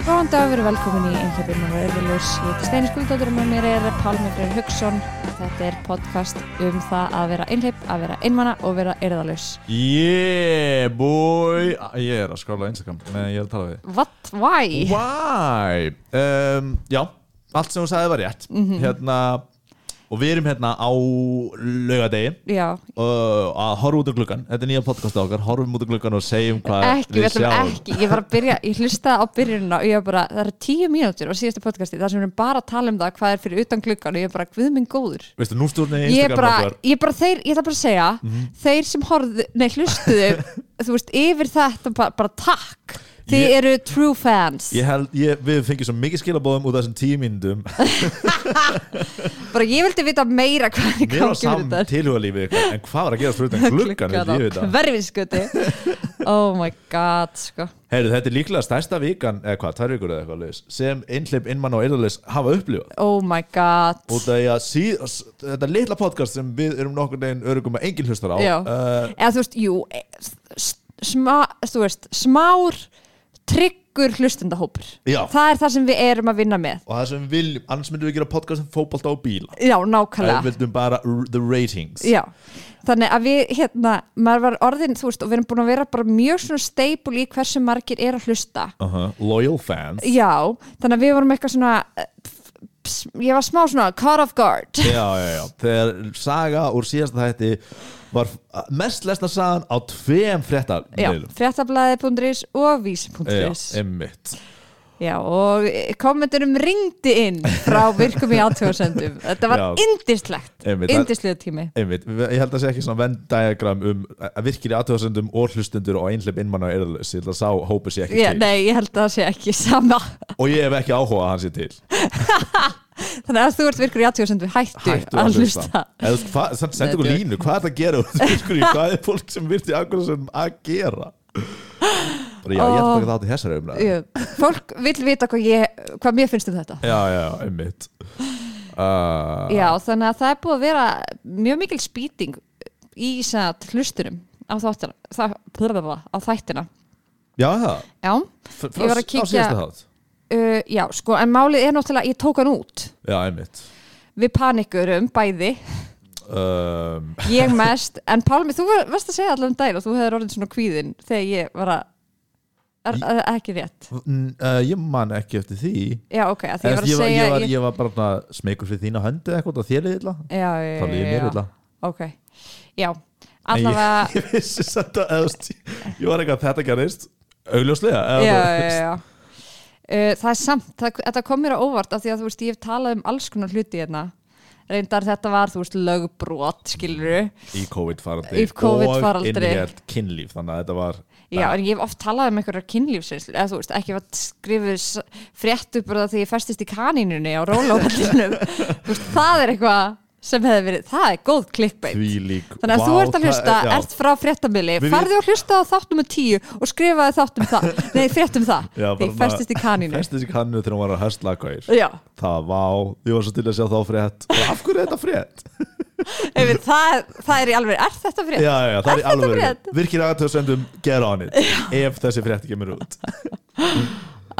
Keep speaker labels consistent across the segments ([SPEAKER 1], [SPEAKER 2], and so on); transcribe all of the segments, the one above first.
[SPEAKER 1] Góðan dag, við erum velkomin í einhverjum og öðruljós. Ég heiti Steini Skuldóttur og með mér er Pálmi Freyr Hugson. Þetta er podcast um það að vera einhleip, að vera einmana og vera erðaljós.
[SPEAKER 2] Yeah boy Ah, Ég er að skrolla á Instagram Nei, ég er að tala við
[SPEAKER 1] What? Why?
[SPEAKER 2] þig Why? Um, já, allt sem hún sagði var rétt
[SPEAKER 1] Mhm.
[SPEAKER 2] Hérna Og við erum hérna á laugardegi
[SPEAKER 1] Já,
[SPEAKER 2] uh, að horfa út af gluggan Þetta er nýja podcastið okkar, horfum út af gluggan og segjum hvað
[SPEAKER 1] ekki, við ætlum ekki. Ég var að byrja, ég hlustaði á byrjunina og ég var bara, það eru tíu mínútur á síðasta podcasti þar sem við erum bara að tala um það hvað er fyrir utan gluggan og ég er bara, guð minn góður.
[SPEAKER 2] Veistu, nú stjórnir
[SPEAKER 1] Ég er
[SPEAKER 2] Instagram Mhm.
[SPEAKER 1] bara,
[SPEAKER 2] okkar
[SPEAKER 1] ég er bara þeir, ég ætla bara að segja, þeir sem horfðu, nei hlustuðu, þú veist, yfir þetta bara, bara takk. Þið
[SPEAKER 2] Ég-
[SPEAKER 1] eru true fans.
[SPEAKER 2] Ég held, ég, við fengið svo mikið skilabóðum út af þessum tíu mínútum
[SPEAKER 1] bara ég vildi vita meira hvað er
[SPEAKER 2] Mér var
[SPEAKER 1] gangi með
[SPEAKER 2] saman
[SPEAKER 1] þetta
[SPEAKER 2] tilhugalífið ykkar, En hvað var að gera svo utan gluggan vildi ég vita?
[SPEAKER 1] hverfinsköti oh my god sko.
[SPEAKER 2] Heyrðu, þetta er líklega stærsta vikan, eða hvað, tvær vikur eða eitthvað laus, sem einhleip, innmann og eirðarleis hafa upplifað.
[SPEAKER 1] oh my god
[SPEAKER 2] Út af því að síð, s- þetta litla podcast sem við erum nokkur neginn örugum um að enginn hlustar á,
[SPEAKER 1] Já.
[SPEAKER 2] uh,
[SPEAKER 1] eða þú veist, jú e- s- sma, þú veist, smár tryggur hlustendahópur
[SPEAKER 2] Já.
[SPEAKER 1] það er það sem við erum að vinna með
[SPEAKER 2] og það sem við viljum, annars myndum við gera podcast um fótbolta og bíla.
[SPEAKER 1] já,
[SPEAKER 2] Við
[SPEAKER 1] nákvæmlega
[SPEAKER 2] vildum bara r- the ratings.
[SPEAKER 1] já. þannig að við, hérna, maður var orðin þú veist, og við erum búin að vera bara mjög svona steipul í hversu margir er að hlusta
[SPEAKER 2] Uh Loyal fans.
[SPEAKER 1] já, þannig að við vorum eitthvað svona eh, pf- pf- ég var smá svona caught off guard
[SPEAKER 2] Já, já, já. Þegar saga úr síðasta þætti var f- mest lesna sagan á tveim frétta
[SPEAKER 1] Já, fréttablaði.is og vísi.is
[SPEAKER 2] Já, emmitt.
[SPEAKER 1] Já, og kommentunum ringdi inn frá virkum í aðtjóðsendum Þetta var
[SPEAKER 2] Já.
[SPEAKER 1] yndislegt
[SPEAKER 2] Einmitt, það-
[SPEAKER 1] Indislega tími
[SPEAKER 2] Einmitt, ég held að það sé ekki svona venn-diagram um að virkilega aðtöðasendum og hlustundur og einhleip innmann og erðalus, ég held að sá hópur sé ekki
[SPEAKER 1] Já,
[SPEAKER 2] til
[SPEAKER 1] nei, ég held að það sé ekki sama
[SPEAKER 2] og ég hef ekki áhuga að hann sé til
[SPEAKER 1] Þannig að þú ert virkur í aðtjóðsendum hættu,
[SPEAKER 2] Hættu að hlusta Þannig sendu ykkur
[SPEAKER 1] Nei,
[SPEAKER 2] línu, hvað er það að gera Þú virkur í hvað er fólk sem virti akkur sem að gera Bara já, ég ætla að taka þátt í þessari umræðu Já,
[SPEAKER 1] Jú, Fólk vill vita hvað, ég, hvað mér finnst um þetta
[SPEAKER 2] já, einmitt uh,
[SPEAKER 1] Já, þannig að það er búið að vera mjög mikil spýting í satt, hlustunum á, þáttina, það, á þættina
[SPEAKER 2] Já, það
[SPEAKER 1] Já,
[SPEAKER 2] F-
[SPEAKER 1] Ég var að
[SPEAKER 2] frá-
[SPEAKER 1] kíkja-
[SPEAKER 2] á síðasta þátt
[SPEAKER 1] uh, já, sko, en málið er náttúrulega ég tók hann út
[SPEAKER 2] Já, einmitt
[SPEAKER 1] við panikurum bæði,
[SPEAKER 2] um,
[SPEAKER 1] ég mest en Pálmi, þú var- varst að segja allan um daginn og þú hefur orðin svona kvíðin þegar ég var að er, er, ekki rétt
[SPEAKER 2] n- uh, Ég man ekki eftir því
[SPEAKER 1] já, ok, að því
[SPEAKER 2] Ég
[SPEAKER 1] ég
[SPEAKER 2] var,
[SPEAKER 1] var að segja
[SPEAKER 2] ég var,
[SPEAKER 1] ég-
[SPEAKER 2] ég var bara svona smeykur fyrir þína höndi eða eitthvað, þér liðið illa
[SPEAKER 1] já, já,
[SPEAKER 2] þá liðið mér
[SPEAKER 1] já,
[SPEAKER 2] illa
[SPEAKER 1] ok, já
[SPEAKER 2] En
[SPEAKER 1] allavega,
[SPEAKER 2] ég, ég vissi samt að eða, þú veist, ég var eitthvað að þetta gerist augljóslega eða,
[SPEAKER 1] já,
[SPEAKER 2] þú
[SPEAKER 1] já,
[SPEAKER 2] veist.
[SPEAKER 1] já, já. Uh, það er samt, það, þetta kom mér á óvart af því að þú veist, ég hef talað um alls konar hluti hérna reyndar þetta var, þú veist, lögbrot skiluru,
[SPEAKER 2] í COVID-faraldri
[SPEAKER 1] Í COVID-faraldri.
[SPEAKER 2] og innihjalt kynlíf þannig að þetta var
[SPEAKER 1] Já, en ég hef oft talað um einhverjar kynlífsinslu eða þú veist, ekki var skrifuð s- frétt upp bara því ég festist í kanínunni á rólópallinum það er eitthvað sem hefði verið, það er góð klikkbeit
[SPEAKER 2] því lík
[SPEAKER 1] Þannig að þú ert að hlusta, ert frá fréttamili
[SPEAKER 2] Við-
[SPEAKER 1] farðu og hlusta á þáttum og tíu og skrifaði þáttum það, nei fréttum það því ég festist í kanínu
[SPEAKER 2] festist í kaninu þegar hún var að höstla gauð
[SPEAKER 1] Já,
[SPEAKER 2] það vá, ég var svo til að sjá þá frétt og af hverju er þetta frétt?
[SPEAKER 1] ef, það, það er í alveg, er þetta frétt?
[SPEAKER 2] já,
[SPEAKER 1] Er
[SPEAKER 2] já, það er,
[SPEAKER 1] þetta
[SPEAKER 2] alveg
[SPEAKER 1] frétt?
[SPEAKER 2] virkir aðtöðsendum, get on it ef þessi frétt kemur út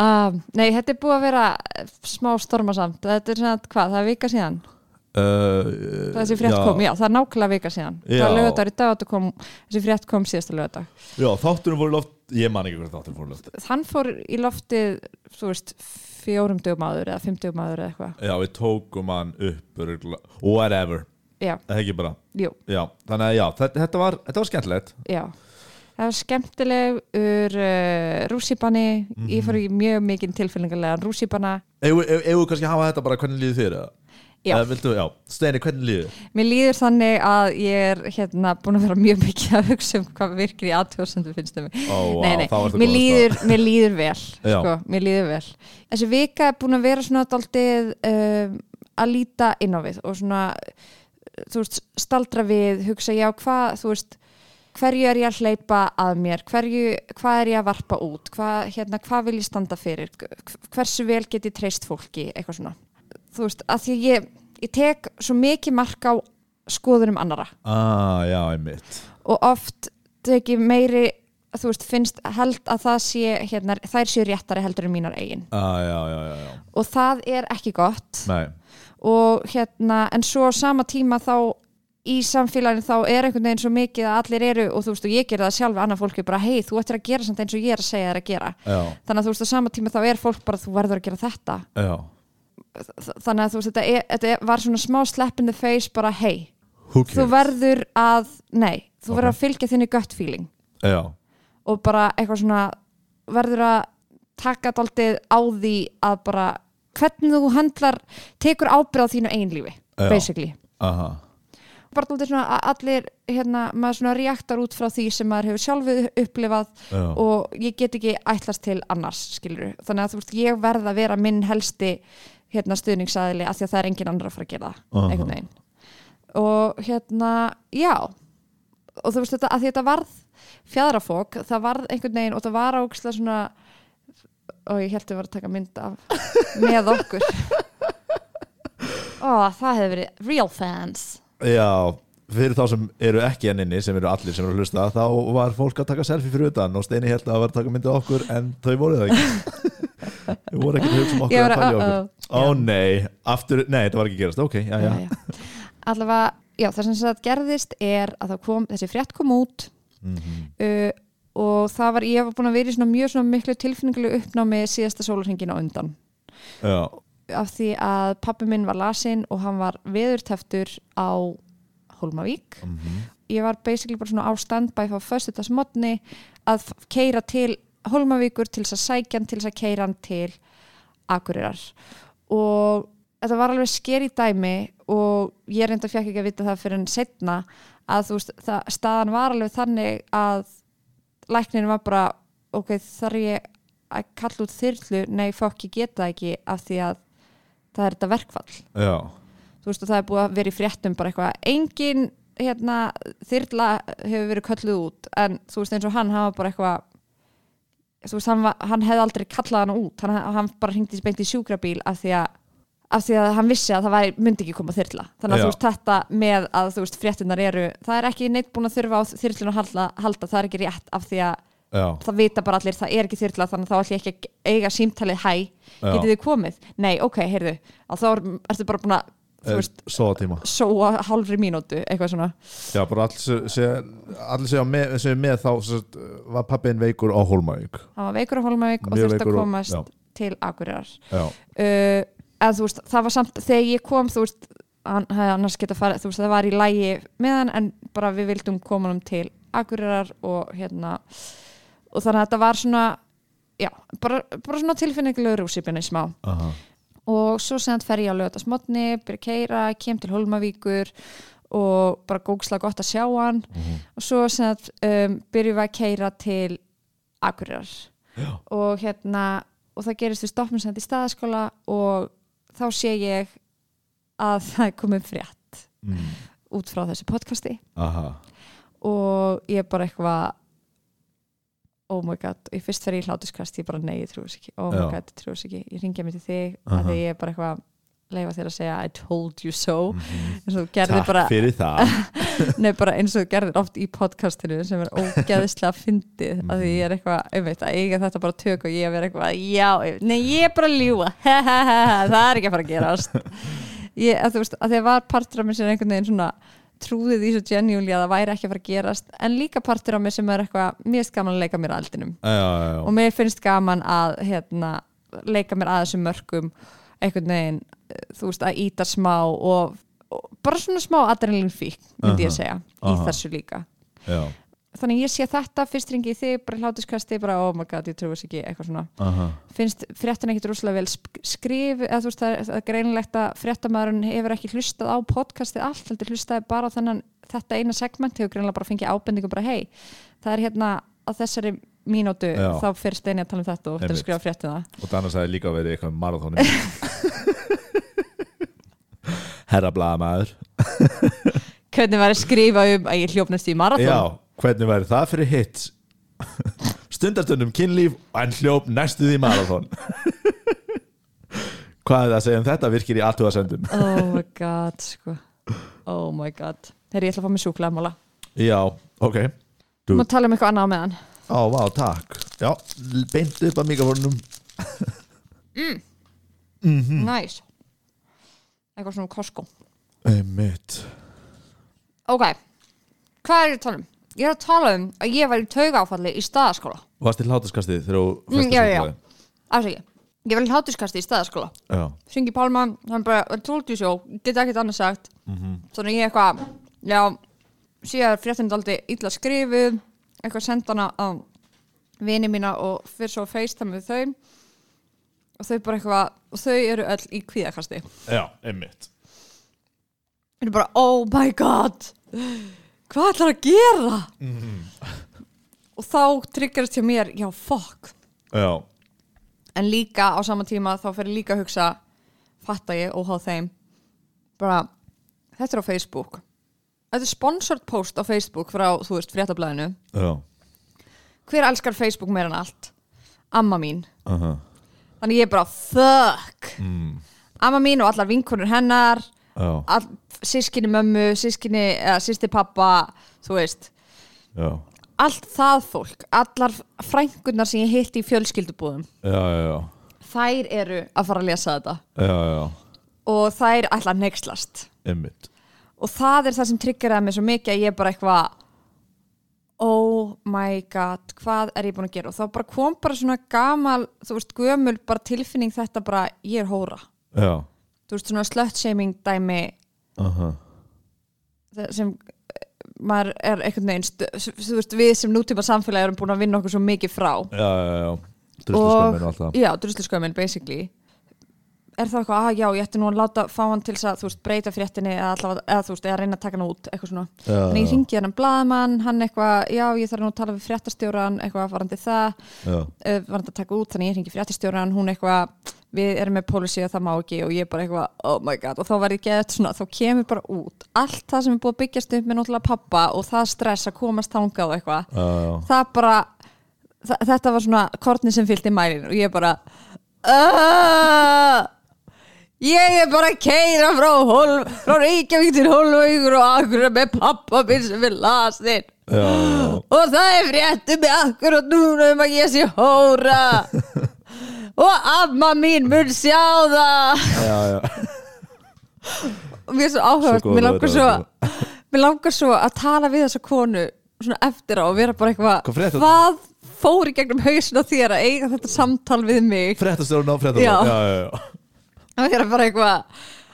[SPEAKER 1] Um, nei, þetta er búið að vera eh, smá stormasamt, þetta er svona, hvað, það er vika síðan?
[SPEAKER 2] Uh,
[SPEAKER 1] þessi frétt
[SPEAKER 2] já.
[SPEAKER 1] kom, já, það er nákvæmlega vika síðan það er
[SPEAKER 2] Já.
[SPEAKER 1] lögadagur í dag og þetta kom, þessi frétt kom síðasta lögadag
[SPEAKER 2] Já, þáttunum voru í loft, ég man ekki hvernig þáttunum voru í loft
[SPEAKER 1] hann fór í loftið, þú veist fjórum dögum áður eða fimm dögum áður eða eitthvað
[SPEAKER 2] Já, við tókum hann upp örugglega- Whatever,
[SPEAKER 1] já,
[SPEAKER 2] það er ekki bara
[SPEAKER 1] jú,
[SPEAKER 2] Já, þannig að já, þetta, þetta, var, þetta var skemmtilegt
[SPEAKER 1] já það var skemmtilegur uh, rússipanni, ég fór í
[SPEAKER 2] Mhm.
[SPEAKER 1] mjög mikinn tilfélningarlega rússipanna
[SPEAKER 2] Eigum við- eigum við kannski að hafa þetta bara hvernig líður þér? eða?
[SPEAKER 1] Já.
[SPEAKER 2] Eða viltu, já, Steini, hvernig líður?
[SPEAKER 1] mér líður þannig að ég er hérna búin að vera mjög mikið að hugsa um hvað virkir í aðtjóðsendu finnst um mig
[SPEAKER 2] Ó, vá, þá ertu
[SPEAKER 1] mér,
[SPEAKER 2] góður,
[SPEAKER 1] líður, mér líður vel
[SPEAKER 2] Já.
[SPEAKER 1] sko, mér líður vel þessi vika er búin að vera svona daldið um, að líta inn á við og svona þú veist, staldra við, hugsa já hvað, þú veist hverju er ég að hleypa að mér, hverju, hvað er ég að varpa út, hvað, hérna, hvað vil ég standa fyrir, hversu vel get ég treyst fólki, eitthvað svona þú veist, að því ég, ég tek svo mikið mark á skoðunum annara
[SPEAKER 2] Ah, já, einmitt
[SPEAKER 1] og oft tek ég meiri þú veist, finnst held að það sé hérna, þær séu réttari heldur en mínar eigin
[SPEAKER 2] ah, já, já, já, já.
[SPEAKER 1] og það er ekki gott
[SPEAKER 2] Nei,
[SPEAKER 1] og hérna, en svo á sama tíma þá í samfélaginu þá er einhvern veginn svo mikið að allir eru og þú veist og ég gerði það sjálf annað fólki bara hei þú ættir að gera samt eins og ég er að segja þér að gera
[SPEAKER 2] já,
[SPEAKER 1] þannig að þú veist á sama tíma þá er fólk bara þú verður að gera þetta
[SPEAKER 2] já
[SPEAKER 1] Þ- þannig að þú veist þetta, er, þetta er, var svona smá slap in the face bara hei
[SPEAKER 2] Who
[SPEAKER 1] þú
[SPEAKER 2] cares?
[SPEAKER 1] verður að, nei þú
[SPEAKER 2] Ok.
[SPEAKER 1] verður að fylgja þinni gut feeling
[SPEAKER 2] Já,
[SPEAKER 1] og bara eitthvað svona verður að taka daldið á því að bara hvernig þú handlar, tekur ábyrð á þínu eigin lífi,
[SPEAKER 2] Já.
[SPEAKER 1] basically
[SPEAKER 2] aha
[SPEAKER 1] bara daldið svona að allir hérna, maður svona reaktar út frá því sem maður hefur sjálfið upplifað
[SPEAKER 2] Já,
[SPEAKER 1] og ég get ekki ætlast til annars skilur, þannig að þú veist, ég verð að vera minn helsti hérna stuðningsaðili af því að það er engin annar að fara að gera það
[SPEAKER 2] Aha.
[SPEAKER 1] einhvern veginn og hérna, já og þú veist þetta, að því þetta varð fjadrafók, það varð einhvern veginn og það var ákslega svona og ég held að vera að taka mynd af með okkur ó, það hefur verið real fans
[SPEAKER 2] já Fyrir þá sem eru ekki enninni, sem eru allir sem eru að hlusta þá var fólk að taka selfie fyrir utan og Steini held að það var að taka myndið okkur en þau voru það ekki Þau voru ekki að hugsa um okkur
[SPEAKER 1] Ég
[SPEAKER 2] að
[SPEAKER 1] var að,
[SPEAKER 2] pæla í
[SPEAKER 1] uh-oh.
[SPEAKER 2] okkur Ó nei, aftur, nei þetta var ekki að gerast, ok, já já,
[SPEAKER 1] já. allavega, já, það sem það gerðist er að það kom, þessi frétt kom út
[SPEAKER 2] Mhm.
[SPEAKER 1] uh, og það var, ég var búin að vera í svona mjög svona miklu tilfinninguleg uppnámi síðasta sólarhingin á undan
[SPEAKER 2] já.
[SPEAKER 1] af því að pappi minn var lasin og hann var veðurteftur á Hólmavík
[SPEAKER 2] Mm
[SPEAKER 1] ég var basically bara svona á standby frá föstudags modni að keira til Hólmavíkur til þess að sækja hann til þess að keira hann til Akureyrar og þetta var alveg sker í dæmi og ég reynda fjekk ekki að vita það fyrir en setna að þú veist, það, staðan var alveg þannig að læknirinn var bara ok, þarf ég að kalla út þyrlu nei, fokk, ég geta það ekki af því að það er þetta verkfall
[SPEAKER 2] já,
[SPEAKER 1] þú veist og það er búið að vera í fréttum bara eitthvað, engin hérna, þyrla hefur verið kölluð út en þú veist eins og hann, hann var bara eitthvað þú veist, hann, var, hann hefði aldrei kallað hann út, hann, hann bara hringdi beint í sjúkrabíl af því að af því að hann vissi að það væri, myndi ekki koma þyrla þannig að
[SPEAKER 2] Já.
[SPEAKER 1] þú veist þetta með að þú veist fréttunar eru, það er ekki neitt búin að þurfa á þyrlun að halda, halda, það er ekki rétt af því að
[SPEAKER 2] já,
[SPEAKER 1] það vita bara allir, það er ekki þyrla þannig að þá ætlum ég ekki að eiga símtalið hæ,
[SPEAKER 2] Já.
[SPEAKER 1] getið þið komið? Nei, ok, heyrðu að þá er, ertu bara búin að þú veist,
[SPEAKER 2] Eh, svo tíma
[SPEAKER 1] sóa hálfri mínútu, eitthvað svona
[SPEAKER 2] Já, bara allir sem- sem allir sem með, sem með þá sem, sagt, var pappin veikur á Hólmavík
[SPEAKER 1] hann var veikur á Holmavík og
[SPEAKER 2] Mjög
[SPEAKER 1] þurfti
[SPEAKER 2] veikur
[SPEAKER 1] að
[SPEAKER 2] og-
[SPEAKER 1] komast
[SPEAKER 2] já.
[SPEAKER 1] til Akureyrar
[SPEAKER 2] Já,
[SPEAKER 1] uh, en þú veist, það var samt þegar ég kom, þú veist hann hefði annars geta farið, þú veist, það var í lægi meðan en bara við vildum koma hann til Akureyrar og hérna og þannig að þetta var svona já, bara, bara svona tilfinningulegur úsipinni smá
[SPEAKER 2] aha,
[SPEAKER 1] og svo sem fer ég að lögata smotni, byrja að keira, kem til Holmavíkur og bara góksla gott að sjá hann
[SPEAKER 2] mhm,
[SPEAKER 1] og svo sem um, byrjum við að keira til Akureyrar og hérna og það gerist við stoppum sem þetta í staðaskóla og þá sé ég að það er komið frétt
[SPEAKER 2] mm,
[SPEAKER 1] út frá þessu podcasti
[SPEAKER 2] aha
[SPEAKER 1] og ég er bara eitthvað oh my god og ég fyrst fer ég í hlátuskast, ég bara nei, ég trúi þess ekki oh my
[SPEAKER 2] Já.
[SPEAKER 1] god, ég trúi þess ekki, ég ringja mér til þig uh
[SPEAKER 2] Aha.
[SPEAKER 1] að því ég er bara eitthvað leifa þér að segja I told you so
[SPEAKER 2] mhm.
[SPEAKER 1] eins og þú gerðir
[SPEAKER 2] Takk
[SPEAKER 1] bara,
[SPEAKER 2] fyrir það
[SPEAKER 1] nei, bara eins og þú gerðir oft í podcastinu sem er ógeðislega fyndið að því ég er eitthvað, auðvitað, að eiga þetta bara tök og ég að vera eitthvað, já, nei ég er bara að ljúa það er ekki að fara að gerast ég, að þú veist, að því að var partur af mér sem er einhvern veginn svona trúði því svo genjúli að það væri ekki að fara að gerast en líka partur af mér sem er eitthvað mér finnst gaman að leika mér að aldinum
[SPEAKER 2] Já, já, já,
[SPEAKER 1] og mér finnst gaman að hérna, leika mér að þessum mörkum einhvern veginn, eh, þú veist, að íta smá og, og bara svona smá adrenalin fík, myndi ég
[SPEAKER 2] Aha,
[SPEAKER 1] segja
[SPEAKER 2] aha.
[SPEAKER 1] í þessu líka
[SPEAKER 2] já
[SPEAKER 1] þannig að ég sé þetta, fyrst ringi í þig bara hlátuskasti, bara oh my god, ég trúi þess ekki eitthvað svona
[SPEAKER 2] aha,
[SPEAKER 1] finnst fréttin ekkit rúslega vel sk- skrif eða þú veist það er, það er greinilegt að fréttamaðurinn hefur ekki hlustað á podcastið allt heldur hlustaði bara á þennan þetta eina segment hefur greinilega bara fengið ábendingu bara hei, það er hérna á þessari mínútu
[SPEAKER 2] Já.
[SPEAKER 1] þá fyrir steini að tala um þetta og þetta er
[SPEAKER 2] Einmitt.
[SPEAKER 1] að skrifa fréttina
[SPEAKER 2] og þannig sagði líka verið eitthvað um marathónum Herra blaðamaður
[SPEAKER 1] hvernig var að skrifa um að ég hljófnast í marathon
[SPEAKER 2] Já, hvernig væri það fyrir hitt stundarstundum kynlíf en hljóp næstu því marathón Hvað er það að segja um þetta virkir í aðtúðasendum?
[SPEAKER 1] oh my god sko. oh my god þegar ég ætla að fá mig sjúklaðmála
[SPEAKER 2] Já, ok
[SPEAKER 1] maður tala um eitthvað annað á meðan
[SPEAKER 2] Á, vá, takk Já, beint upp að mikrofónum Hmm.
[SPEAKER 1] Næs Eitthvað svona Costco
[SPEAKER 2] Einmitt
[SPEAKER 1] Ok, hvað er ég að tala um? Ég er að tala um að ég var í taugáfalli í staðaskóla
[SPEAKER 2] Varst til hlátuskastið þegar þú
[SPEAKER 1] Mm,
[SPEAKER 2] festist
[SPEAKER 1] já,
[SPEAKER 2] í
[SPEAKER 1] já,
[SPEAKER 2] blaði?
[SPEAKER 1] Afsækja, ég var í hlátuskasti í staðaskóla
[SPEAKER 2] já
[SPEAKER 1] Syngi Pálma, hann bara "I told you so, get ekkert annað sagt Þannig ég eitthvað, já síðan fréttin daldi illa skrifuð eitthvað senda hana á vini mína og fyrir svo feistam við þau og þau bara eitthvað og þau eru öll í kvíðakasti
[SPEAKER 2] Já, einmitt
[SPEAKER 1] eru bara oh my god hvað ætlar að gera og þá triggerist hjá mér já fuck
[SPEAKER 2] Já,
[SPEAKER 1] en líka á sama tíma þá fer ég líka að hugsa fatta ég og háð þeim bara þetta er á Facebook þetta er sponsored post á Facebook frá þú veist fréttablaðinu
[SPEAKER 2] já
[SPEAKER 1] hver elskar Facebook meira en allt amma mín
[SPEAKER 2] uh
[SPEAKER 1] þannig ég er bara fuck
[SPEAKER 2] mm,
[SPEAKER 1] amma mín og allar vinkonur hennar
[SPEAKER 2] Já,
[SPEAKER 1] all, sískinni mömmu, sískinni eða sýsti pappa, þú veist
[SPEAKER 2] já
[SPEAKER 1] allt það fólk, allar frængunar sem ég hitti í fjölskyldubúðum
[SPEAKER 2] Já, já, já
[SPEAKER 1] þær eru að fara að lesa þetta
[SPEAKER 2] Já, já,
[SPEAKER 1] og þær ætla að neykslast
[SPEAKER 2] einmitt
[SPEAKER 1] og það er það sem triggeraði mig svo mikið að ég bara eitthvað oh my god, hvað er ég búin að gera og þá bara kom bara svona gamal þú veist, gömul bara tilfinning þetta bara ég er hóra,
[SPEAKER 2] Já,
[SPEAKER 1] þú veist svona slöttshaming dæmi
[SPEAKER 2] uh
[SPEAKER 1] það sem eh, maður er einhvern veginn, stu- s- þú veist við sem nútíma samfélagi erum búin að vinna okkur svo mikið frá
[SPEAKER 2] Já, já, já Drusluskömmin og allt það
[SPEAKER 1] já, drusluskömmin basically er það eitthvað, að já, ég ætti nú að láta fá hann til þess að, þú veist, breyta fréttinni eða, allavega, eða þú veist, eða reyna að taka hann út, eitthvað svona
[SPEAKER 2] Já,
[SPEAKER 1] en ég
[SPEAKER 2] já.
[SPEAKER 1] ringi hann um blaðamann, hann eitthvað já, ég þarf nú að tala við fréttastjóran, eitthvað varandi það,
[SPEAKER 2] Já,
[SPEAKER 1] uh, varandi að taka út þannig ég ringi fréttastjóran, hún eitthvað við erum með policy að það má ekki og ég bara eitthvað, oh my god, og þá verði ekki eftir svona þá kemur bara út, allt það sem er búið að byggjast upp með náttúrulega pappa og það stress að komast þangað og eitthvað
[SPEAKER 2] já, já
[SPEAKER 1] það bara þa- þetta var svona kortni sem fylgdi mælin og ég bara "Ah, ég er bara að keira frá, Hólm- frá Reykjavík til Hólvögur og akkur með pappa minn sem er lasin
[SPEAKER 2] Já, já, já.
[SPEAKER 1] og það er fréttum með akkur og núna um að ég sé hóra og amma mín mun sjá það
[SPEAKER 2] já, já.
[SPEAKER 1] og mér er svo áhugavert,
[SPEAKER 2] Svo góð
[SPEAKER 1] mér langar
[SPEAKER 2] lög
[SPEAKER 1] svo
[SPEAKER 2] þetta,
[SPEAKER 1] mér langar svo að tala við þessa konu svona eftir á og vera bara
[SPEAKER 2] Hvað
[SPEAKER 1] eitthvað
[SPEAKER 2] frétt-
[SPEAKER 1] hvað fór í gegnum hausin á þér að eiga þetta samtal við mig
[SPEAKER 2] Fréttastjórn á fréttastjórn
[SPEAKER 1] Já.
[SPEAKER 2] já, já, já.
[SPEAKER 1] að vera bara eitthvað að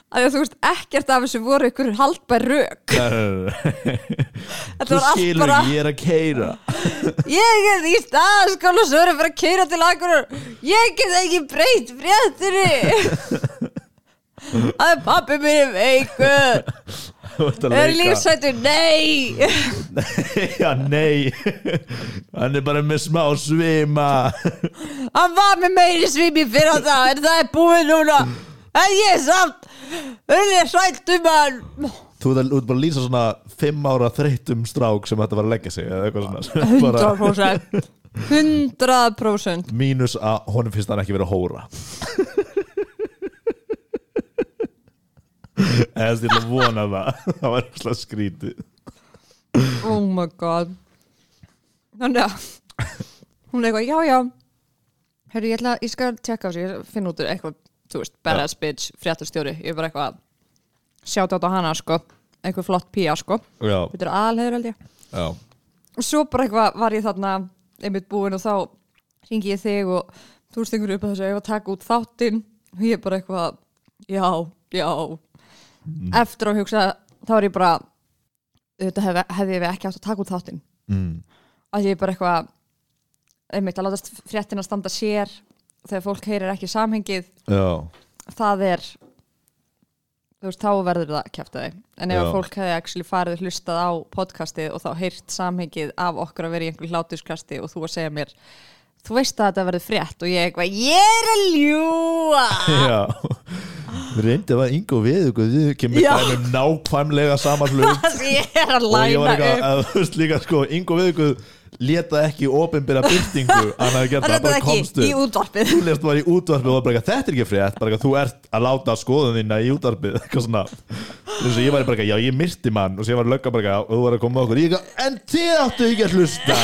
[SPEAKER 1] því að þú veist ekkert af þessu voru ykkur haldbær rök
[SPEAKER 2] Nei, nei, nei, nei.
[SPEAKER 1] þetta
[SPEAKER 2] Þú
[SPEAKER 1] var allt
[SPEAKER 2] skilur
[SPEAKER 1] bara
[SPEAKER 2] ekki, ég er að keira
[SPEAKER 1] ég er í staðaskóla og svo er ég bara að keira til akkur ég get ekki breytt fréttinni að pappi mér er veikur
[SPEAKER 2] Þú ert að
[SPEAKER 1] er
[SPEAKER 2] leika.
[SPEAKER 1] lífsættu, nei
[SPEAKER 2] Já, nei Hann er bara með smá svima
[SPEAKER 1] Hann var með meiri svimi fyrir á það En það er búið núna En ég er samt Öllu hrætt um hann
[SPEAKER 2] Þú ert að- þú ert bara að lýsa svona Fimm ára þreyttum strák sem þetta var að leggja sig Eða eitthvað svona sem bara,
[SPEAKER 1] 100% 100%
[SPEAKER 2] Mínus að honum finnst hann ekki verið að hóra Eða þess ég ætla að vona það Það var eitthvað skrítið
[SPEAKER 1] Oh my god Þannig að Hún er eitthvað, já já Hörru, ég ætla, ég skal tjekka á þessu Ég finn út úr eitthvað, þú veist, badass bitch Fréttastjóri, ég er bara eitthvað Sjátt á hana, sko Eitthvað flott pía, sko
[SPEAKER 2] Já,
[SPEAKER 1] Þetta er aðalheður, held ég
[SPEAKER 2] já,
[SPEAKER 1] og svo bara eitthvað var ég þarna einmitt búin og þá ringi ég þig og þú stengur upp að þessu ég var að taka út þáttinn og ég bara eitthvað já, já eftir að hugsa þá er ég bara þetta hef, hefði ég ekki átt að taka út þáttinn
[SPEAKER 2] mm.
[SPEAKER 1] að ég bara eitthvað einmitt að láta fréttina standa sér þegar fólk heyrir ekki samhengið
[SPEAKER 2] já,
[SPEAKER 1] það er þú veist, þá verður það kjæftið en ef
[SPEAKER 2] Já.
[SPEAKER 1] að fólk hefði actually farið og hlustað á podcastið og þá heyrt samhengið af okkur að vera í einhver hlátuskasti og þú að segja mér þú veist að þetta verður frétt og ég eitthvað, ég er að ljúa
[SPEAKER 2] já Við reyndum að Ingo við ykkur Við kemur
[SPEAKER 1] Já.
[SPEAKER 2] dæmum nákvæmlega sama hlut
[SPEAKER 1] ég er að
[SPEAKER 2] og ég var
[SPEAKER 1] læna
[SPEAKER 2] eitthvað,
[SPEAKER 1] upp
[SPEAKER 2] að, þú veist líka sko, Ingo Viðguð leta ekki ofinbyrra byrtingu, hann hafði gert
[SPEAKER 1] það er
[SPEAKER 2] það, það bara komst
[SPEAKER 1] ekki í
[SPEAKER 2] upp
[SPEAKER 1] útvarpið
[SPEAKER 2] þú lest bara í útvarpið og var bara eitthvað, þetta er ekki frétt bara eitthvað, þú ert að láta skoðun þína í útvarpið eitthvað svona eins og ég var bara eitthvað, já ég myrti mann og sér var löggan bara eitthvað, og þú var að koma með okkur ég eitthvað, en þið áttu ekki að hlusta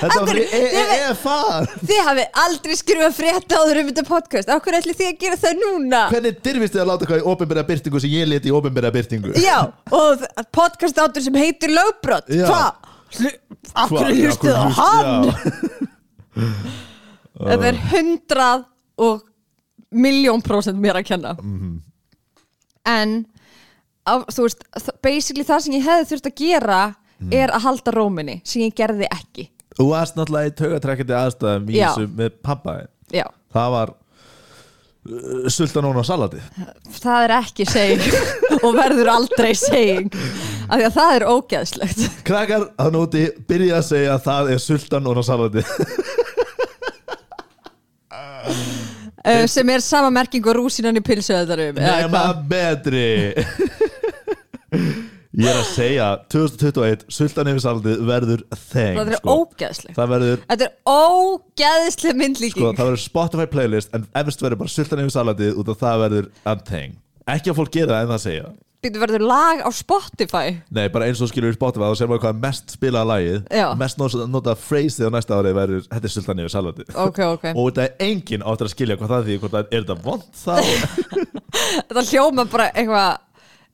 [SPEAKER 2] þetta var "E,
[SPEAKER 1] Akkur-
[SPEAKER 2] fyrir
[SPEAKER 1] þið-
[SPEAKER 2] EFA
[SPEAKER 1] Þið hafið aldrei skrifað frétta áður um þetta podcast Akkur ætli þið að gera það núna
[SPEAKER 2] hvernig dyrfist þið að láta eitthvað í opinbera byrtingu sem ég leti í opinbera byrtingu
[SPEAKER 1] Já, og þ- podcast átur sem heitir lögbrot
[SPEAKER 2] Já.
[SPEAKER 1] Hvað? Hlu- Akkur hlustuð á hann Það er hundrað og miljón prósent mér að kenna
[SPEAKER 2] Mhm.
[SPEAKER 1] En á, þú veist, þ- basically það sem ég hefði þurft að gera
[SPEAKER 2] Mhm.
[SPEAKER 1] er að halda róminni sem ég gerði ekki
[SPEAKER 2] Þú varst náttúrulega í taugatrekkandi aðstæðum í
[SPEAKER 1] Já.
[SPEAKER 2] þessu með pappa þinn.
[SPEAKER 1] Já,
[SPEAKER 2] Það var uh, sultan og salatið
[SPEAKER 1] það er ekki seging og verður aldrei seging af því að það er ógeðslegt
[SPEAKER 2] Krakkar að úti byrja að segja að það er sultan og salatið
[SPEAKER 1] uh, sem er sama merking og rúsinan í pilsuöðarum eða
[SPEAKER 2] Nema
[SPEAKER 1] hvað
[SPEAKER 2] betri Ég er að segja 2021 sultan yfir salatið verður þeng sko.
[SPEAKER 1] það er ógeðslegt
[SPEAKER 2] það verður
[SPEAKER 1] Þetta er ógeðsleg myndlíking
[SPEAKER 2] sko, það verður Spotify playlist en efst verður bara sultan yfir salatið út af það verður untheng ekki að fólk gera það en það segja það.
[SPEAKER 1] Býttu verður lag á Spotify
[SPEAKER 2] Nei, bara eins og skilur við Spotify þá sér maður hvað er mest spilaða lagið
[SPEAKER 1] Já.
[SPEAKER 2] mest nota, nota phrase á næsta ári verður þetta er sultan yfir salati
[SPEAKER 1] Ok, ok
[SPEAKER 2] og þetta er enginn áttur að skilja hvað það því hvort það er þetta vond þá
[SPEAKER 1] Þetta hljóma bara eitthvað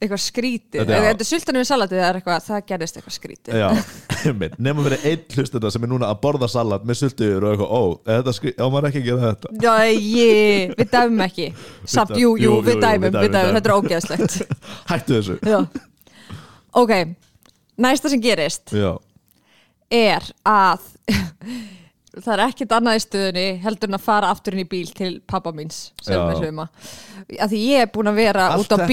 [SPEAKER 1] eitthvað skrítið,
[SPEAKER 2] Þetta- Eh.
[SPEAKER 1] Ef þetta er sultanum við salatið það er eitthvað, það gerðist eitthvað skrítið
[SPEAKER 2] Já, einmitt. nema verið einn hlustenda sem er núna að borða salat með sultuður og eitthvað ó, er þetta skri, á maður ekki að gera þetta
[SPEAKER 1] Jæji, við dæmum ekki Samt, jú, jú, við dæmum, við dæmum, þetta er ógeðslegt
[SPEAKER 2] hættu þessu
[SPEAKER 1] Já. Ok, næsta sem gerist
[SPEAKER 2] Já,
[SPEAKER 1] er að það er ekkert annað í stöðunni heldur en að fara aftur inn í bíl til pappa míns sem
[SPEAKER 2] Já.
[SPEAKER 1] er svima að því ég er búin að vera
[SPEAKER 2] Allt
[SPEAKER 1] út á
[SPEAKER 2] þetta sem þú ert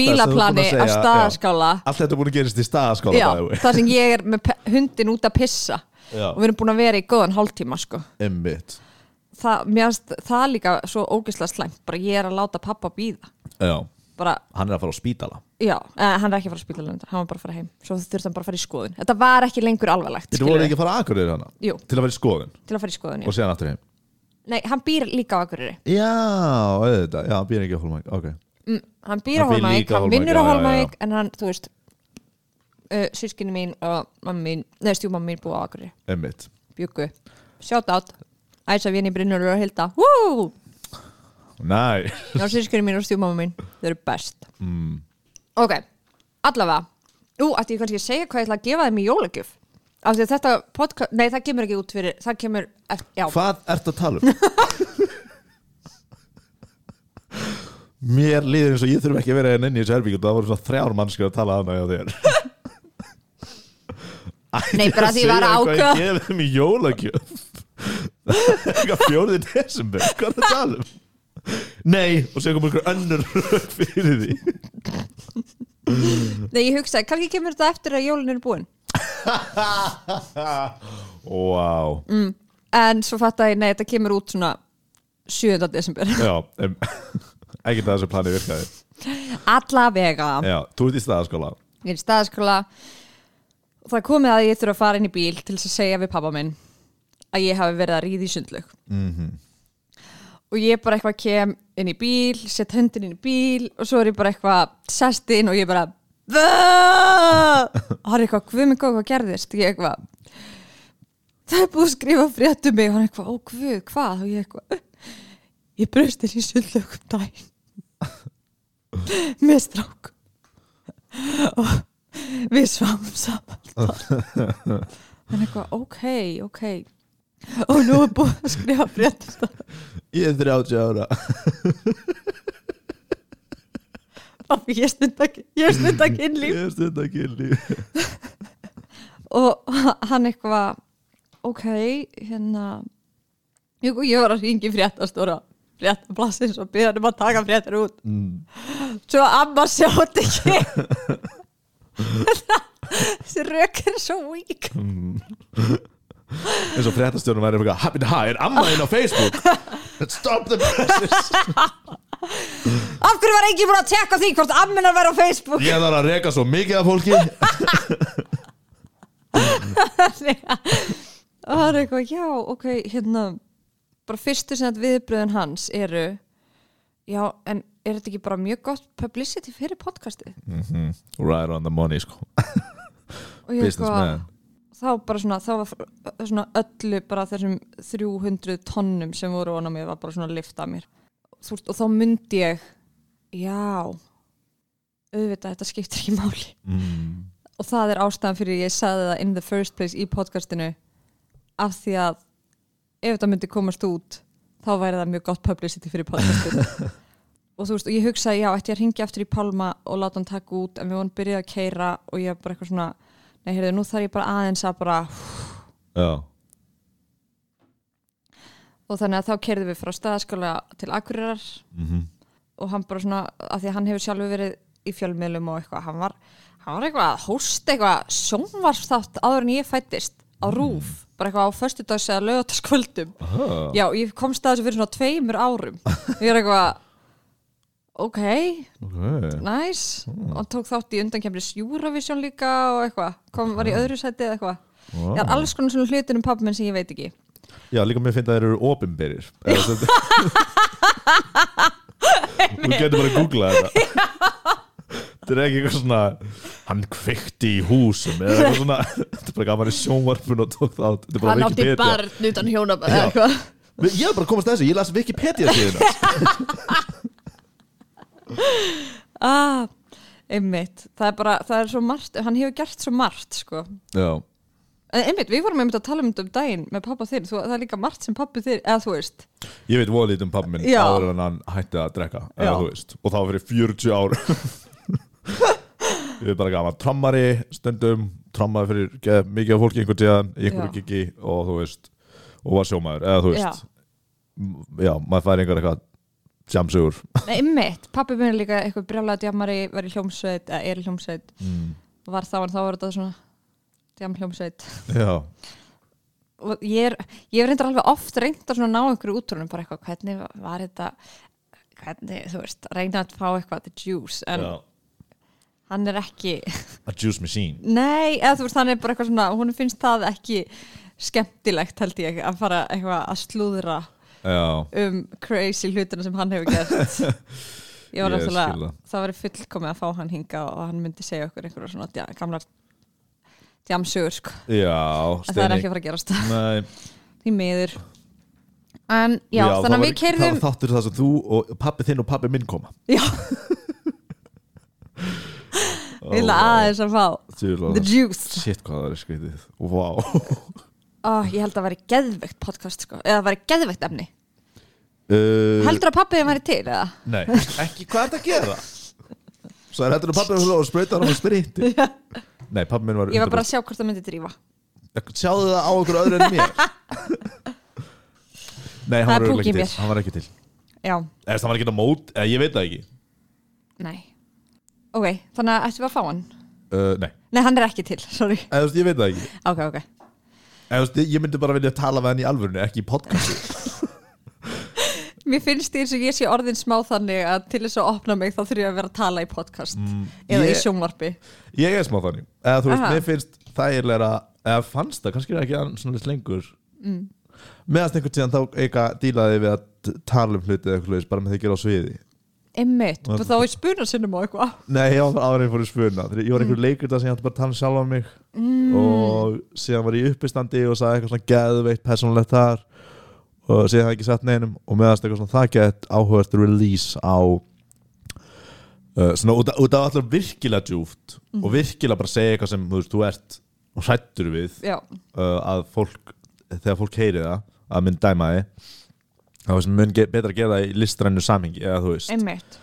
[SPEAKER 2] búin að
[SPEAKER 1] bílaplani
[SPEAKER 2] segja,
[SPEAKER 1] á staðaskála
[SPEAKER 2] allt þetta er búin að gerist í staðaskóla
[SPEAKER 1] já,
[SPEAKER 2] by the way.
[SPEAKER 1] þar sem ég er með pe- hundin út að pissa
[SPEAKER 2] Já.
[SPEAKER 1] og við erum búin að vera í góðan hálftíma sko.
[SPEAKER 2] einmitt
[SPEAKER 1] það, mér, finnst það líka svo ógeðslega slæmt bara ég er að láta pappa býða
[SPEAKER 2] Já,
[SPEAKER 1] bara
[SPEAKER 2] hann er að fara á spítala
[SPEAKER 1] Já, eh, hann er ekki að fara að spýta lönda, hann var bara að fara heim Svo þurfti hann bara að fara í skoðun Þetta var ekki lengur alvarlegt
[SPEAKER 2] Þetta
[SPEAKER 1] skilurðu,
[SPEAKER 2] voru ekki að fara að akkurir hana
[SPEAKER 1] Jú.
[SPEAKER 2] til að fara í skoðun
[SPEAKER 1] Til að fara í skoðun, já
[SPEAKER 2] og séðan aftur heim
[SPEAKER 1] Nei, hann býr líka á Akureyri
[SPEAKER 2] Já, auðvitað, já, hann býr ekki á Hólmæk Ok,
[SPEAKER 1] mm, Hann býr á
[SPEAKER 2] Hann býr
[SPEAKER 1] Hólmavík,
[SPEAKER 2] líka
[SPEAKER 1] hann
[SPEAKER 2] á Hólmavík,
[SPEAKER 1] vinnur á
[SPEAKER 2] já, já, já.
[SPEAKER 1] Hólmavík En hann, þú veist uh, Sískinni mín og mamma mín Nei, stjúmamma mín búa á Akureyri,
[SPEAKER 2] einmitt
[SPEAKER 1] bjuggu Shout out, æsa vini Brynur og Hilda Woo!
[SPEAKER 2] Næ,
[SPEAKER 1] Já, sískinni mín og stjúmamma mín Þau eru best mm. Ok, allavega Ú, ætti ég kannski að segja hvað ég ætla að gefa þeim í jólagjöf Af því að þetta podcast, nei það kemur ekki út fyrir, það kemur, eft- já,
[SPEAKER 2] hvað ertu að tala um? Mér líður eins og ég þurf ekki að vera enn inn í þessu herbyggjum Það voru svona þrjár mannskjur að tala að hana hjá þér Ætti
[SPEAKER 1] Nei, bara
[SPEAKER 2] að
[SPEAKER 1] því ég var
[SPEAKER 2] segja
[SPEAKER 1] að
[SPEAKER 2] Hvað ég gefið þeim í jólagjöf Eitthvað fjórði desember, hvað er það tala um? Nei, og sér komur einhver önnur rök fyrir því
[SPEAKER 1] Nei, ég hugsaði, kannski kemur þetta eftir að jólun eru búin
[SPEAKER 2] Wow
[SPEAKER 1] En svo fattaði ég, nei, þetta kemur út svona 7. desember
[SPEAKER 2] Já, um, ekkert að þessu plani virkaði
[SPEAKER 1] Alla vega
[SPEAKER 2] Já, þú ert í staðaskóla
[SPEAKER 1] Ég er í staðaskóla Og það er komið að ég þurfa að fara inn í bíl til þess að segja við pappa minn að ég hafi verið að ríða í sundlög -hmm. og ég bara eitthvað kem inn í bíl, sett höndin inn í bíl og svo er ég bara eitthvað sest inn og ég bara "Vá!" og hann er eitthvað, guð minn góð, hvað gerðist ég eitthvað það er búið að skrifa frétt um mig og hann eitthvað, ó guð, hvað og ég eitthvað, ég braust inn í sundlög um daginn með strák við sváum saman en eitthvað, ok, ok og nú er búið að skrifa frétt um það.
[SPEAKER 2] Ég er 30 ára
[SPEAKER 1] Af því ég stund ekki, ég stund ekki
[SPEAKER 2] Ég
[SPEAKER 1] innlíf
[SPEAKER 2] er stund að kynli
[SPEAKER 1] og hann eitthvað ok, hérna ég, ég var að ringi fréttastóra fréttaplassins og byrja um að taka fréttar út svo amma sjátt ekki þessi rök er svo vík
[SPEAKER 2] En svo fréttastjórnum væri um eitthvað Happy to high, er amma inn á Facebook Stop the presses
[SPEAKER 1] af hverju var enginn búin að tekka því hvort amminar væri á Facebook
[SPEAKER 2] Ég þarf að reka svo mikið af fólki
[SPEAKER 1] og það er eitthvað, já, ok, hérna bara fyrstu sem að viðbröðin hans eru já, en er þetta ekki bara mjög gott publicity fyrir podcastið
[SPEAKER 2] Mhm. Right on the money sko
[SPEAKER 1] og ég
[SPEAKER 2] Business man
[SPEAKER 1] þá bara svona, þá var f- svona öllu bara þessum 300 tonnum sem voru ofan á mér var bara svona að lifta mér Þú veist, og þá myndi ég já auðvitað, þetta skiptir ekki máli
[SPEAKER 2] mm.
[SPEAKER 1] og það er ástæðan fyrir ég sagði það in the first place í podcastinu af því að ef þetta myndi komast út þá væri það mjög gott publicity fyrir podcastinu og þú veist, og ég hugsaði, já, ætti ég að ringja aftur í Pálma og láta hann taka út, en við vorum byrjað að keira og ég var bara eitthvað svona nei, heyrðu, nú þarf ég bara aðeins að bara
[SPEAKER 2] Já,
[SPEAKER 1] og þannig að þá keirðum við frá staðaskóla til Akureyrar
[SPEAKER 2] mm
[SPEAKER 1] og hann bara svona, af því að hann hefur sjálfur verið í fjölmiðlum og eitthvað, hann var hann var eitthvað að hósta eitthvað sjónvarsþátt áður en ég fættist á rúf, bara eitthvað á föstudags eða lögataskvöldum
[SPEAKER 2] Ah. Aha.
[SPEAKER 1] já, ég komst að þessu fyrir svona tveimur árum ég er eitthvað ok,
[SPEAKER 2] ok
[SPEAKER 1] nice og hann tók þátt í undankemri Eurovision líka og eitthvað, kom, var í öðru sæti eða eitthvað
[SPEAKER 2] Vá.
[SPEAKER 1] ég er alls konar svona hlutin um pappi minn sem ég veit ekki
[SPEAKER 2] Já, líka mér finnst að þeir eru opinberir Eða sem- Þú getur bara að googla þetta Þetta er ekki eitthvað svona Hann kveikti í húsum eða eitthvað svona Þetta er bara gaman í sjónvarpun og tók það Þetta er bara
[SPEAKER 3] Hann átti
[SPEAKER 2] Wikipedia
[SPEAKER 3] barn utan hjónabæð eða eitthvað
[SPEAKER 2] Ég er bara að komast að þessu, ég las Wikipedia síðan
[SPEAKER 1] ah, einmitt, það er bara það er svo margt, hann hefur gert svo margt sko
[SPEAKER 2] Já,
[SPEAKER 1] En einmitt, við vorum einmitt að tala um þetta um daginn með pappa þinn, þú, það er líka margt sem pappi þinn eða þú veist,
[SPEAKER 2] ég veit voðlítið um pappi minn
[SPEAKER 1] Já.
[SPEAKER 2] áður en hann hætti að drekka eða,
[SPEAKER 1] Já.
[SPEAKER 2] þú veist, og það var fyrir 40 ár Ég veit bara gaman trammari stundum, trammaði fyrir geð, mikið af fólki einhvern tíðan í einhverju
[SPEAKER 1] Já.
[SPEAKER 2] kiki og þú veist, og var sjómaður eða þú veist, já, maður fær einhver eitthvað jamsugur
[SPEAKER 1] Nei, einmitt pappi minn er líka eitthvað brjálega djamari var í hljómsveit, eða er í hljómsveit
[SPEAKER 2] mm.
[SPEAKER 1] var þá en þá var þetta svona djam hljómsveit
[SPEAKER 2] Já,
[SPEAKER 1] og ég er, ég er reyndar alveg oft reyndar svona að ná einhverju útrunum bara eitthvað, hvernig var þetta hvernig, þú veist, reyna að fá eitthvað the juice, en
[SPEAKER 2] já
[SPEAKER 1] hann er ekki
[SPEAKER 2] A juice machine
[SPEAKER 1] Nei, eða þú veist, hann er bara eitthvað svona hún finnst það ekki skemmtilegt held ég, að fara eitthvað að slúðra
[SPEAKER 2] Já,
[SPEAKER 1] um crazy hlutina sem hann hefur gert ég var
[SPEAKER 2] Ég skil
[SPEAKER 1] náttúrulega
[SPEAKER 2] það.
[SPEAKER 1] það var fullkomið að fá hann hinga og hann myndi segja okkur einhverja svona dja, gamlar djamsugur sko
[SPEAKER 2] já,
[SPEAKER 1] en það er ekki að fara að gerast
[SPEAKER 2] Nei,
[SPEAKER 1] því miður en já,
[SPEAKER 2] það
[SPEAKER 1] þannig
[SPEAKER 2] var
[SPEAKER 1] að við
[SPEAKER 2] ekki-
[SPEAKER 1] kerðum
[SPEAKER 2] Það var þáttur það sem þú og pappi þinn og pappi minn koma
[SPEAKER 1] já, ég ætla aðeins að fá
[SPEAKER 2] Tjúlega,
[SPEAKER 1] the juice
[SPEAKER 2] Shit hvað það er skrítið Vá
[SPEAKER 1] oh, ég held að það væri geðveikt podcast sko, eða það væri geðveikt efni
[SPEAKER 2] uh,
[SPEAKER 1] heldur að pappiðin væri til eða?
[SPEAKER 2] Nei, ekki hvað er þetta að gera Svo er heldur að pappi og sprauta hann á spriti Nei, pappi minn var
[SPEAKER 1] ég var bara að sjá hvort það myndi drífa
[SPEAKER 2] Sjáðu það á okkur öðru en mér Nei, hann
[SPEAKER 1] Það er
[SPEAKER 2] var
[SPEAKER 1] púk
[SPEAKER 2] örugglega
[SPEAKER 1] í
[SPEAKER 2] ekki til
[SPEAKER 1] mér.
[SPEAKER 2] Hann var ekki til
[SPEAKER 1] já,
[SPEAKER 2] Eða þess, hann var ekki til á mót Eða ég veit það ekki
[SPEAKER 1] nei ok, þannig að ættum við að fá hann
[SPEAKER 2] uh, Nei,
[SPEAKER 1] nei, hann er ekki til, sorry
[SPEAKER 2] eða þú veist, ég veit það ekki
[SPEAKER 1] ok, ok,
[SPEAKER 2] Eða þú veist, ég myndi bara vilja tala við hann í alvörinu Ekki í podcasti
[SPEAKER 1] mér finnst því eins og ég sé orðin smá þannig að til þess að opna mig þá þurfum ég að vera að tala í podcast eða
[SPEAKER 2] ég-
[SPEAKER 1] í sjónvarpi
[SPEAKER 2] Ég er smá þannig eða þú veist,
[SPEAKER 1] Aha.
[SPEAKER 2] mér finnst þægilega eða fannst það, kannski er það ekki annars svona lengur mm. meðast einhvern tíðan þá eitthvað dílaði við að t- tala um hluti eða eitthvað leis, bara með því að gera á sviði
[SPEAKER 1] einmitt, og þá er spunarsinnum og eitthvað
[SPEAKER 2] Nei, ég var áður en ég fór í spuna Þegar ég var einhver leikur það sem ég hætti bara að tala um sjálf á mig mm. og síðan var ég í uppistandi og sagði eitthvað svona geðveikt persónulegt þar og síðan hafði ég ekki sett neinum og meðast eitthvað svona það gett áhugast release á uh, svona út af- út af allar virkilega djúft og virkilega bara segja eitthvað sem þú veist, þú ert og hrættur við
[SPEAKER 1] já,
[SPEAKER 2] uh, að fólk þegar fólk heyri það að mun dæma þið þá er sem mun ge betra að gera það í listrænu samhengi eða þú veist,
[SPEAKER 1] einmitt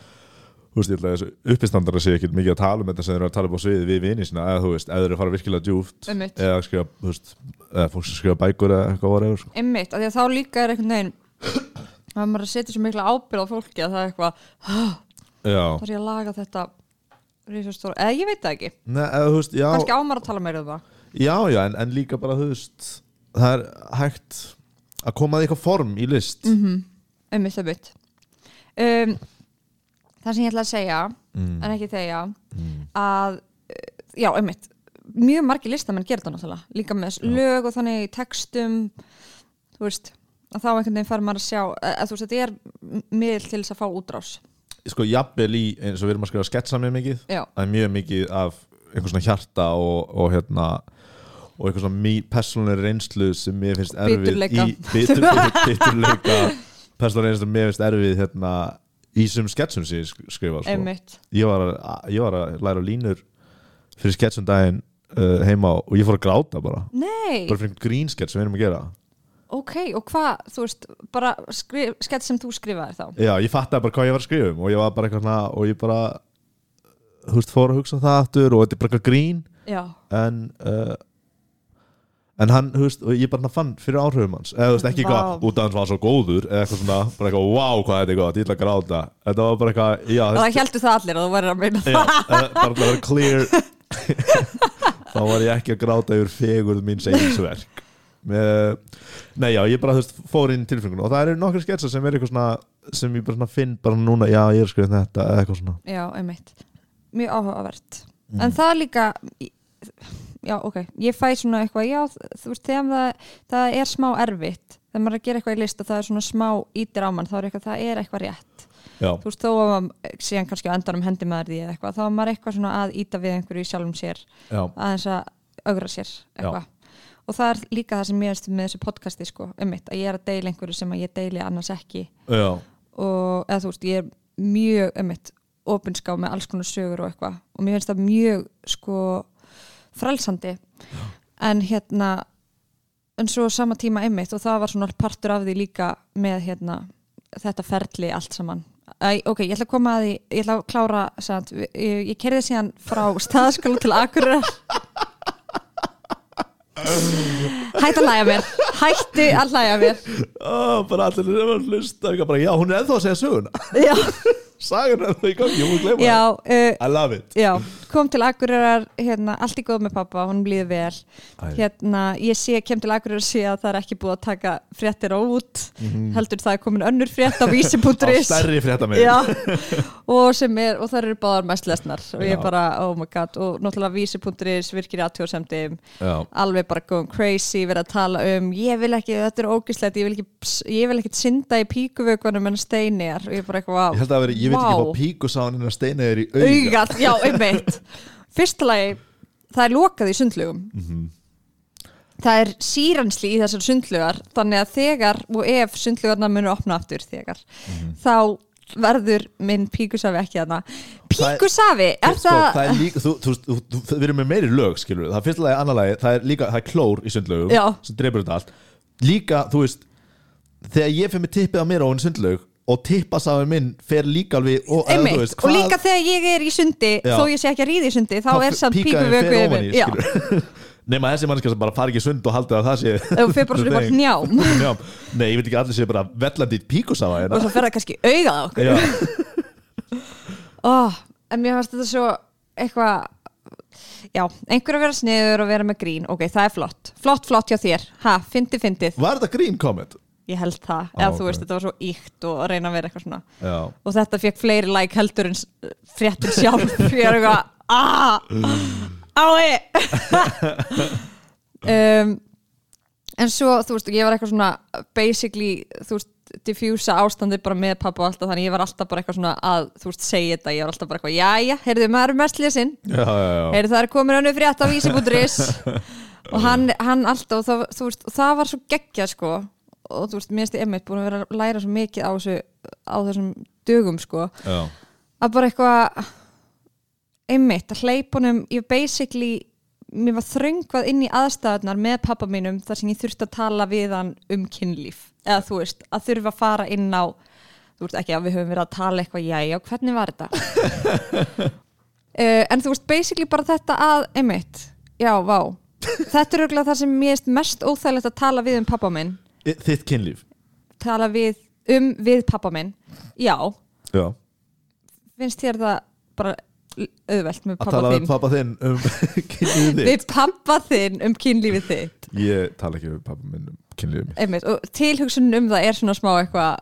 [SPEAKER 2] þú veist ég ætla að þessu uppistandara sé ekkert mikið að tala um þetta sem þeir eru að tala upp á sviði við vini sína eða þú veist, eða þeir eru að fara virkilega djúft
[SPEAKER 1] Einmitt.
[SPEAKER 2] eða skrifa, þú veist, eða fólk sem skrifa bækur eða eitthvað var eða sko.
[SPEAKER 1] einmitt, af því að þá líka er einhvern veginn það er maður að setja svo mikla ábyrð á fólki að það er eitthvað,
[SPEAKER 2] Já,
[SPEAKER 1] þá er ég að laga þetta risastóra, eða ég veit það ekki
[SPEAKER 2] Nei, eða þú veist, já,
[SPEAKER 1] kannski ámar að tala meira um það
[SPEAKER 2] já, já en, en líka bara þú veist, það er hægt að koma að eitthvað form í list
[SPEAKER 1] einmitt, einmitt um, það sem ég ætla að segja
[SPEAKER 2] Mm,
[SPEAKER 1] en ekki þegja að, uh, já, einmitt mjög margir listamenn gera þetta náttúrulega líka með lög og þannig í textum eh, þú veist, að þá einhvern veginn fær maður að sjá að, að þú veist, þetta er miðl til þess að fá útrás
[SPEAKER 2] sko jafnvel í eins og við erum að skrifa sketsa mjög mikið
[SPEAKER 1] Já.
[SPEAKER 2] það er mjög mikið af einhvers svona hjarta og, og hérna og einhvers svona mý- persónuleg reynslu sem mér finnst erfið
[SPEAKER 1] Biturleika.
[SPEAKER 2] í bitur, bitur, biturleika persónuleg reynslu sem mér finnst erfið hérna í sem sketsum sem ég sk- skrifa sko.
[SPEAKER 1] einmitt
[SPEAKER 2] ég, var að, ég var að læra línur fyrir sketsum daginn uh, heima og ég fór að gráta bara
[SPEAKER 1] Nei,
[SPEAKER 2] bara fyrir einhvern grínskets sem við erum að gera
[SPEAKER 1] ok, og hvað, þú veist, bara skrif, skett sem þú skrifaðir þá
[SPEAKER 2] Já, ég fattaði bara hvað ég var að skrifa um og ég var bara eitthvað svona og ég bara þú veist, fór að hugsa um það aftur og þetta er bara eitthvað grín
[SPEAKER 1] Já,
[SPEAKER 2] en uh, en hann, þú veist, og ég bara fann fyrir áhrifum hans eða þú veist, ekki eitthvað,
[SPEAKER 1] Vá.
[SPEAKER 2] út af hans var svo góður eða eitthvað svona, bara eitthvað, wow, hvað þetta er gott ég ætla að gráta, þetta var bara eitthvað já, þú
[SPEAKER 1] það
[SPEAKER 2] veist,
[SPEAKER 1] heldur það allir að þú verður að meina það
[SPEAKER 2] já, eh, bara til að vera clear þá var ég ekki að gráta yfir fegurð mín seginsverk með, nei já, ég bara þú veist, fór inn tilfengun og það eru nokkar sketsar sem er eitthvað svona sem ég bara svona finn bara núna, já ég er skrifin þetta eða eitthvað svona
[SPEAKER 1] Já, einmitt Mjög áhugavert En það er líka Já, ok, ég fæ svona eitthvað Já, þú veist, þegar það, það er smá erfitt þegar maður er að gera eitthvað í list og það er svona smá ítir á mann, þá er eitthvað, það er eitthvað rétt
[SPEAKER 2] já,
[SPEAKER 1] þú veist, þó að maður síðan kannski á endanum hendi maður því eða eitthvað, þá er maður eitthvað svona að íta við einhverju í sjálfum sér
[SPEAKER 2] já,
[SPEAKER 1] aðeins að augra sér eitthvað og það er líka það sem ég erst með þessu podcasti sko, um mitt, að ég er að deila einhverju sem að ég deili annars ekki
[SPEAKER 2] já,
[SPEAKER 1] og eða þú veist, ég er mjög um mitt, opinská með alls konar sögur og eitthvað og mér finnst það mjög sko frelsandi en hérna en svo á sama tíma einmitt og það var svona partur af því líka með hérna þetta ferli allt saman Æ, ok, ég ætla að koma að því, ég ætla að klára sagt, ég, ég kerði síðan frá staðskóla til Akureyrar hætt að læja mér hætti að læja mér
[SPEAKER 2] Ó, bara allir er að hlusta eitthvað bara, já, hún er ennþá að segja söguna
[SPEAKER 1] já,
[SPEAKER 2] sagan er ennþá í gangi, hún er gleyma
[SPEAKER 1] já uh,
[SPEAKER 2] I love it
[SPEAKER 1] já, kom til Akureyrar hérna, allt í góð með pappa, hún blíði vel
[SPEAKER 2] Æ.
[SPEAKER 1] hérna, ég sé, kem til Akureyrar og sé að það er ekki búið að taka fréttir á út heldur það er komin önnur frétt á
[SPEAKER 2] Mhm. á
[SPEAKER 1] vísi.is
[SPEAKER 2] stærri frétta mig
[SPEAKER 1] Já, og sem er, og það eru báðar mest lesnar og ég
[SPEAKER 2] Já.
[SPEAKER 1] bara, oh my god, og náttúrulega vísi.is virkir aðtjóðsemdi
[SPEAKER 2] já,
[SPEAKER 1] alveg bara going crazy, verið að tala um ég vil ekki, þetta er ógislegt, ég vil ekki ég vil ekki synda í píkuvökunum en steinir, og ég bara eitthvað
[SPEAKER 2] ég held að vera, ég veit ekki
[SPEAKER 1] vá
[SPEAKER 2] hvað píku sá hann hennar steina er í auga
[SPEAKER 1] augað, já, einmitt fyrsta lagi, það er lokað í sundlugum
[SPEAKER 2] Mhm.
[SPEAKER 1] það er síransli í þessar sundlugar þannig að þegar og ef sundlugarna munu opna aftur þegar
[SPEAKER 2] Mhm.
[SPEAKER 1] þá verður minn píkusafi ekki þarna píkusafi, er
[SPEAKER 2] sko,
[SPEAKER 1] það,
[SPEAKER 2] það er líka, þú, þú, þú, þú, við erum með meiri lög skilur við, það er fyrsta lagi, annað lagi, það er líka það er klór í sundlaugum
[SPEAKER 1] Já.
[SPEAKER 2] sem dreipur þetta allt líka, þú veist, þegar ég fyrir mig tippið á mér á hún sundlaug og tippasafi minn fer líka alveg og, eða
[SPEAKER 1] einmitt, og líka þegar ég er í sundi
[SPEAKER 2] Já.
[SPEAKER 1] þó ég sé ekki að ríða í sundi, þá er samt píkuvöku yfir, já,
[SPEAKER 2] yfir nema þessi mannska sem bara fari ekki í sund og haldið að það sé
[SPEAKER 1] og fyrir bara svona upp á
[SPEAKER 2] Nei.
[SPEAKER 1] knjám
[SPEAKER 2] Njám. nei, ég veit ekki að allir sé bara vellandi í píkusafa
[SPEAKER 1] og
[SPEAKER 2] hérna.
[SPEAKER 1] svo fer það kannski augað á okkur
[SPEAKER 2] Já.
[SPEAKER 1] oh, en mér fannst þetta svo eitthvað já, einhver að vera sniður og vera með grín ok, það er flott, flott, flott hjá þér ha, fyndi, fyndið,
[SPEAKER 2] var þetta grín comment?
[SPEAKER 1] ég held það
[SPEAKER 2] Á,
[SPEAKER 1] eða
[SPEAKER 2] ok.
[SPEAKER 1] þú veist, þetta var svo íkt og að reyna að vera eitthvað svona
[SPEAKER 2] já,
[SPEAKER 1] og þetta fekk fleiri like heldur en s- fréttin sjálf ég er eitthvað "Ah, ái um, en svo þú veist, ég var eitthvað svona basically, þú veist, diffjúsa ástandið bara með pappa og alltaf, þannig ég var alltaf bara eitthvað svona að, þú veist, segja þetta, ég var alltaf bara eitthvað jæja, heyrðu, maður er mest lesinn
[SPEAKER 2] já, já, já.
[SPEAKER 1] heyrðu, það er komin önnu frétt á vísi.is og hann, hann alltaf, og það, þú veist, og það var svo geggjað sko, og þú veist, mér stið emmitt búin að vera að læra svo mikið á þessu á þessum dögum sko
[SPEAKER 2] já.
[SPEAKER 1] að bara eitthvað einmitt, að hleypa honum ég basically, mér var þröngvað inn í aðstæðunar með pappa mínum þar sem ég þurfti að tala við hann um kynlíf eða þú veist, að þurfa að fara inn á þú veist ekki að við höfum verið að tala eitthvað jæja, hvernig var þetta? uh, en þú veist, basically bara þetta að, einmitt, já, vá þetta er auðvitað það sem mér er mest óþægilegt að tala við um pappa minn
[SPEAKER 2] þitt kynlíf
[SPEAKER 1] tala við, um við pappa minn já,
[SPEAKER 2] já.
[SPEAKER 1] finnst þér það bara auðvelt með
[SPEAKER 2] að
[SPEAKER 1] pappa
[SPEAKER 2] tala við
[SPEAKER 1] þinn
[SPEAKER 2] pappa þinn um kynlífið þitt
[SPEAKER 1] við pappa þinn um kynlífið þitt
[SPEAKER 2] ég tala ekki við pappa minn um kynlífið mitt
[SPEAKER 1] Einmitt, og tilhugsunum um það er svona smá eitthvað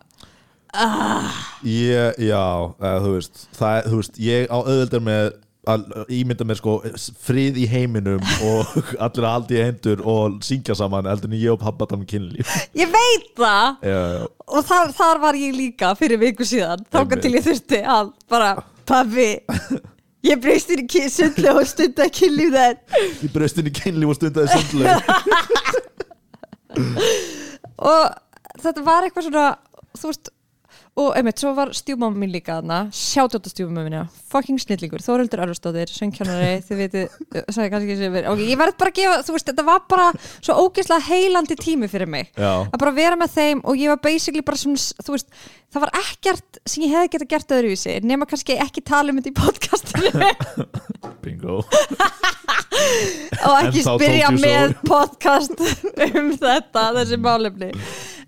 [SPEAKER 2] ég, já, eða, þú veist það, er- þú veist, ég á auðvöldar með að ímynda mér sko frið í heiminum og allir að haldi í hendur og syngja saman heldur en ég og pappa tala um kynlíf
[SPEAKER 1] Ég veit það
[SPEAKER 2] Já, já,
[SPEAKER 1] og þar, þar var ég líka fyrir viku síðan þáka
[SPEAKER 2] Einmitt.
[SPEAKER 1] til ég þurfti að bara pabbi, ég breyst þér í sundlu og stundi að kynlíf þenn
[SPEAKER 2] ég braust inn í kynlíf og stundaði sundlega
[SPEAKER 1] og þetta var eitthvað svona þú veist og einmitt, svo var stjúmamma mín líka þarna sjátjóta stjúmamma mín, fucking snillingur Þóreldur Arvstóðir, söngkjánari, þið veitir sagði kannski ekki sem verið, ok, ég verð bara að gefa þú veist, þetta var bara svo ógeðslega heilandi tími fyrir mig,
[SPEAKER 2] Já.
[SPEAKER 1] að bara vera með þeim og ég var basically bara sem, þú veist það var ekkert sem ég hefði geta gert öðruvísi nema kannski ekki tala um þetta í podcastinu
[SPEAKER 2] Bingo
[SPEAKER 1] og ekki
[SPEAKER 2] En þá
[SPEAKER 1] spyrja
[SPEAKER 2] tók þú
[SPEAKER 1] með
[SPEAKER 2] svo.
[SPEAKER 1] podcast um þetta þessi málefni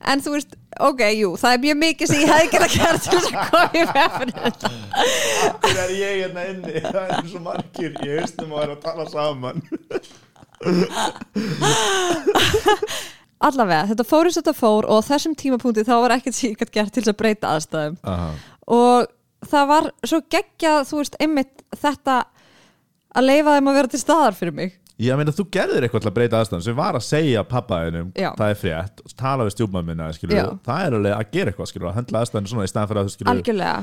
[SPEAKER 1] en þú veist, ok, jú, það er mjög mikið sem ég hefði geta gert til þess að koma í vefnir þetta
[SPEAKER 2] Hver er ég hérna inni? Það er svo margir, ég veistum að vera að tala saman
[SPEAKER 1] allavega, þetta fór eins og þetta fór og á þessum tímapunkti þá var ekkert sem ég geta gert til þess að breyta aðstæðum
[SPEAKER 2] Aha.
[SPEAKER 1] og það var svo geggjað, þú veist, einmitt þetta að leifa þeim að vera til staðar fyrir mig
[SPEAKER 2] Ég meina þú gerðir eitthvað til að breyta aðstæðan sem var að segja pappaðinum,
[SPEAKER 1] Já.
[SPEAKER 2] það er frétt tala við stjúpmann minna,
[SPEAKER 1] Já.
[SPEAKER 2] skilur það er alveg að gera eitthvað, skilur, að höndla aðstæðan svona í staðan fyrir að þú skilur
[SPEAKER 1] algjörlega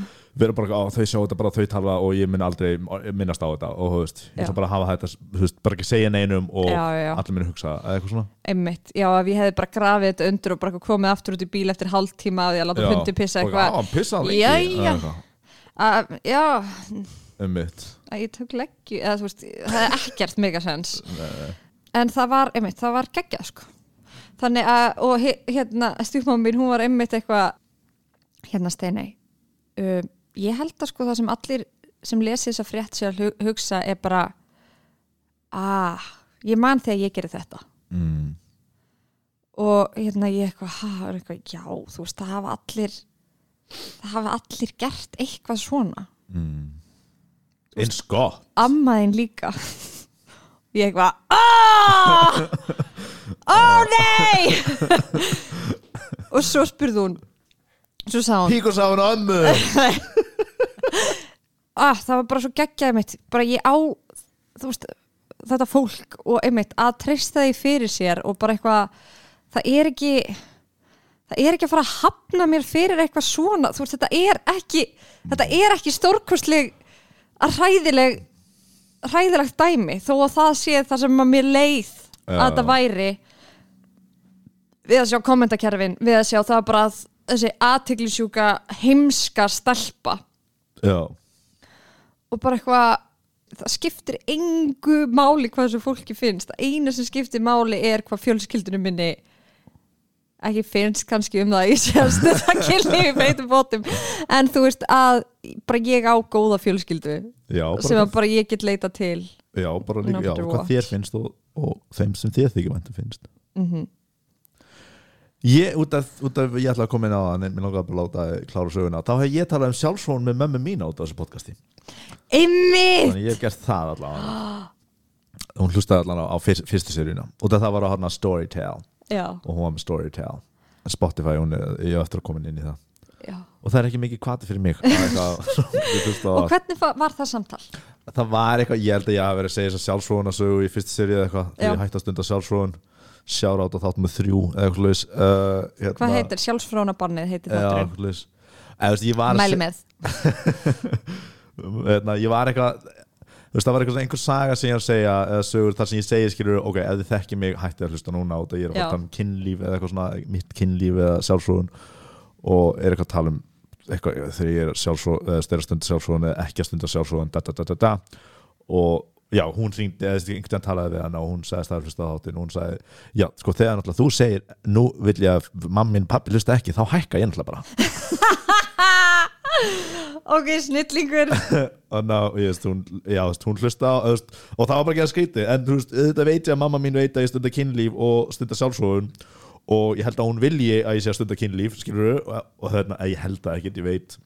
[SPEAKER 2] vera bara, á, þau sjá þetta bara, þau tala og ég mun aldrei minnast á þetta og þú veist, ég ætla
[SPEAKER 1] Já.
[SPEAKER 2] bara að hafa þetta, þú veist, bara ekki segja neinum og
[SPEAKER 1] Já, já.
[SPEAKER 2] allir minn hugsa eða eitthvað svona
[SPEAKER 1] einmitt, já, ef ég hefði bara grafið þetta undur og bara komið aftur út í bíl eftir hálftíma af því að láta hundi pissa
[SPEAKER 2] og
[SPEAKER 1] eitthvað
[SPEAKER 2] já, hann pissaði lengi
[SPEAKER 1] Jæja.
[SPEAKER 2] eða eitthvað.
[SPEAKER 1] Að- Já,
[SPEAKER 2] Einmitt.
[SPEAKER 1] að ég tók leggju eða þú veist, það er ekkert megasens en það var, einmitt, það var geggjað sko. þannig að, og he- hérna stjúpmáma mín, hún var einmitt eitthvað hérna steinei um, ég held að sko það sem allir sem lesi þess að frétt sér að hu- hugsa er bara ah, ég man þegar ég gerir þetta
[SPEAKER 2] Mm.
[SPEAKER 1] og hérna ég eitthvað, ha, er eitthvað já, þú veist, það hafa allir það hafa allir gert eitthvað svona
[SPEAKER 2] eins gott
[SPEAKER 1] ammaðin líka ég eitthvað "Ah! ó nei og svo spurði hún svo sagði hún
[SPEAKER 2] Píkur sá hann ömmu
[SPEAKER 1] ah, það var bara svo geggjaði mitt bara ég á þú veist, þetta fólk og einmitt að treysta því fyrir sér og bara eitthvað það er ekki það er ekki að fara að hafna mér fyrir eitthvað svona þú veist, þetta er ekki þetta er ekki stórkostleg að hræðileg hræðilegt dæmi þó að það sé það sem að mér leið að
[SPEAKER 2] Já.
[SPEAKER 1] þetta væri við að sjá kommentakerfin við að sjá það bara að þessi aðteglisjúka heimska stelpa
[SPEAKER 2] Já,
[SPEAKER 1] og bara eitthvað það skiptir engu máli hvað þessu fólki finnst það eina sem skiptir máli er hvað fjölskyldunum minni ekki finnst kannski um það að ég sé að stöða kynlífi beitum bótum en þú veist að bara ég á góða fjölskyldu
[SPEAKER 2] já,
[SPEAKER 1] sem
[SPEAKER 2] bara,
[SPEAKER 1] að bara ég get leita til
[SPEAKER 2] já, bara líka,
[SPEAKER 1] No
[SPEAKER 2] já,
[SPEAKER 1] matter
[SPEAKER 2] hvað
[SPEAKER 1] what.
[SPEAKER 2] þér finnst og, og þeim sem þér þykir væntum finnst Ég, út af, út af, ég ætla að koma inn á það en mér langaði bara að láta þig klára söguna þá hef ég talað um sjálfsfón með mömmu mína út af þessu podcasti
[SPEAKER 1] Ymmið!
[SPEAKER 2] þannig ég hef gert það allavega hún hlustaði allavega á fyr, fyrstu seríuna og það var á hana Storytel
[SPEAKER 1] Já,
[SPEAKER 2] og hún var með Storytel Spotify, hún er, ég er eftir að koma inn í það
[SPEAKER 1] já
[SPEAKER 2] og það er ekki mikið kvati fyrir mig að eitthvað, ég hlusta á
[SPEAKER 1] Og hvernig fa- var það samtal?
[SPEAKER 2] það var eitthvað, ég held að ég hafi verið að segja þess að sjálfsfróðunarsögu í fyrstu serið eða eitthvað
[SPEAKER 1] Já.
[SPEAKER 2] þegar ég hætti að stunda sjálfsfróðun sjárátt á þáttum með þrjú eða eitthvað laus uh, hérna,
[SPEAKER 1] Hvað heitir? Sjálfsfrónabannið heitir
[SPEAKER 2] Já,
[SPEAKER 1] þátturinn
[SPEAKER 2] eitthvað laus eða, veist, ég, var að
[SPEAKER 1] Mæli
[SPEAKER 2] se-
[SPEAKER 1] með
[SPEAKER 2] hérna, ég var eitthvað þú veist, það var eitthvað svona einhver saga sem ég er að segja eða sögur þar sem ég segi skilur ok, ef þið þekki mig hætti að hlusta núna og það ég er að fara
[SPEAKER 1] Já.
[SPEAKER 2] að tala um kynlíf eða eitthvað svona mitt kynlíf eða sjálfsfróðun og er eitthvað að tala um eitthvað, þegar ég er sjálfsfróðun eða styrra stund sjálfsfróðun eða ekki að stunda sjálfsfróðun da, da, da, da, da. og já, hún hringdi eða einhvern veginn talaði við hana og hún sagði staðar hlusta á þáttin og hún sagði, já, sko þegar náttúrulega þú segir nú vil ég að mammin, pappi hlusta ekki þá hækka ég náttúrulega bara
[SPEAKER 1] Ok, snillingur
[SPEAKER 2] og ná, ég veist, hún, já, þú veist, hún hlusta á, þú veist, og það var bara ekki að skríti en þú veist, þetta veit ég að mamma mín veit að ég stunda kynlíf og stunda sjálfsóðun og ég held að hún vilji að ég sé að stunda kynlíf skilur, og, og þarna, ég held það ekkert, ég veit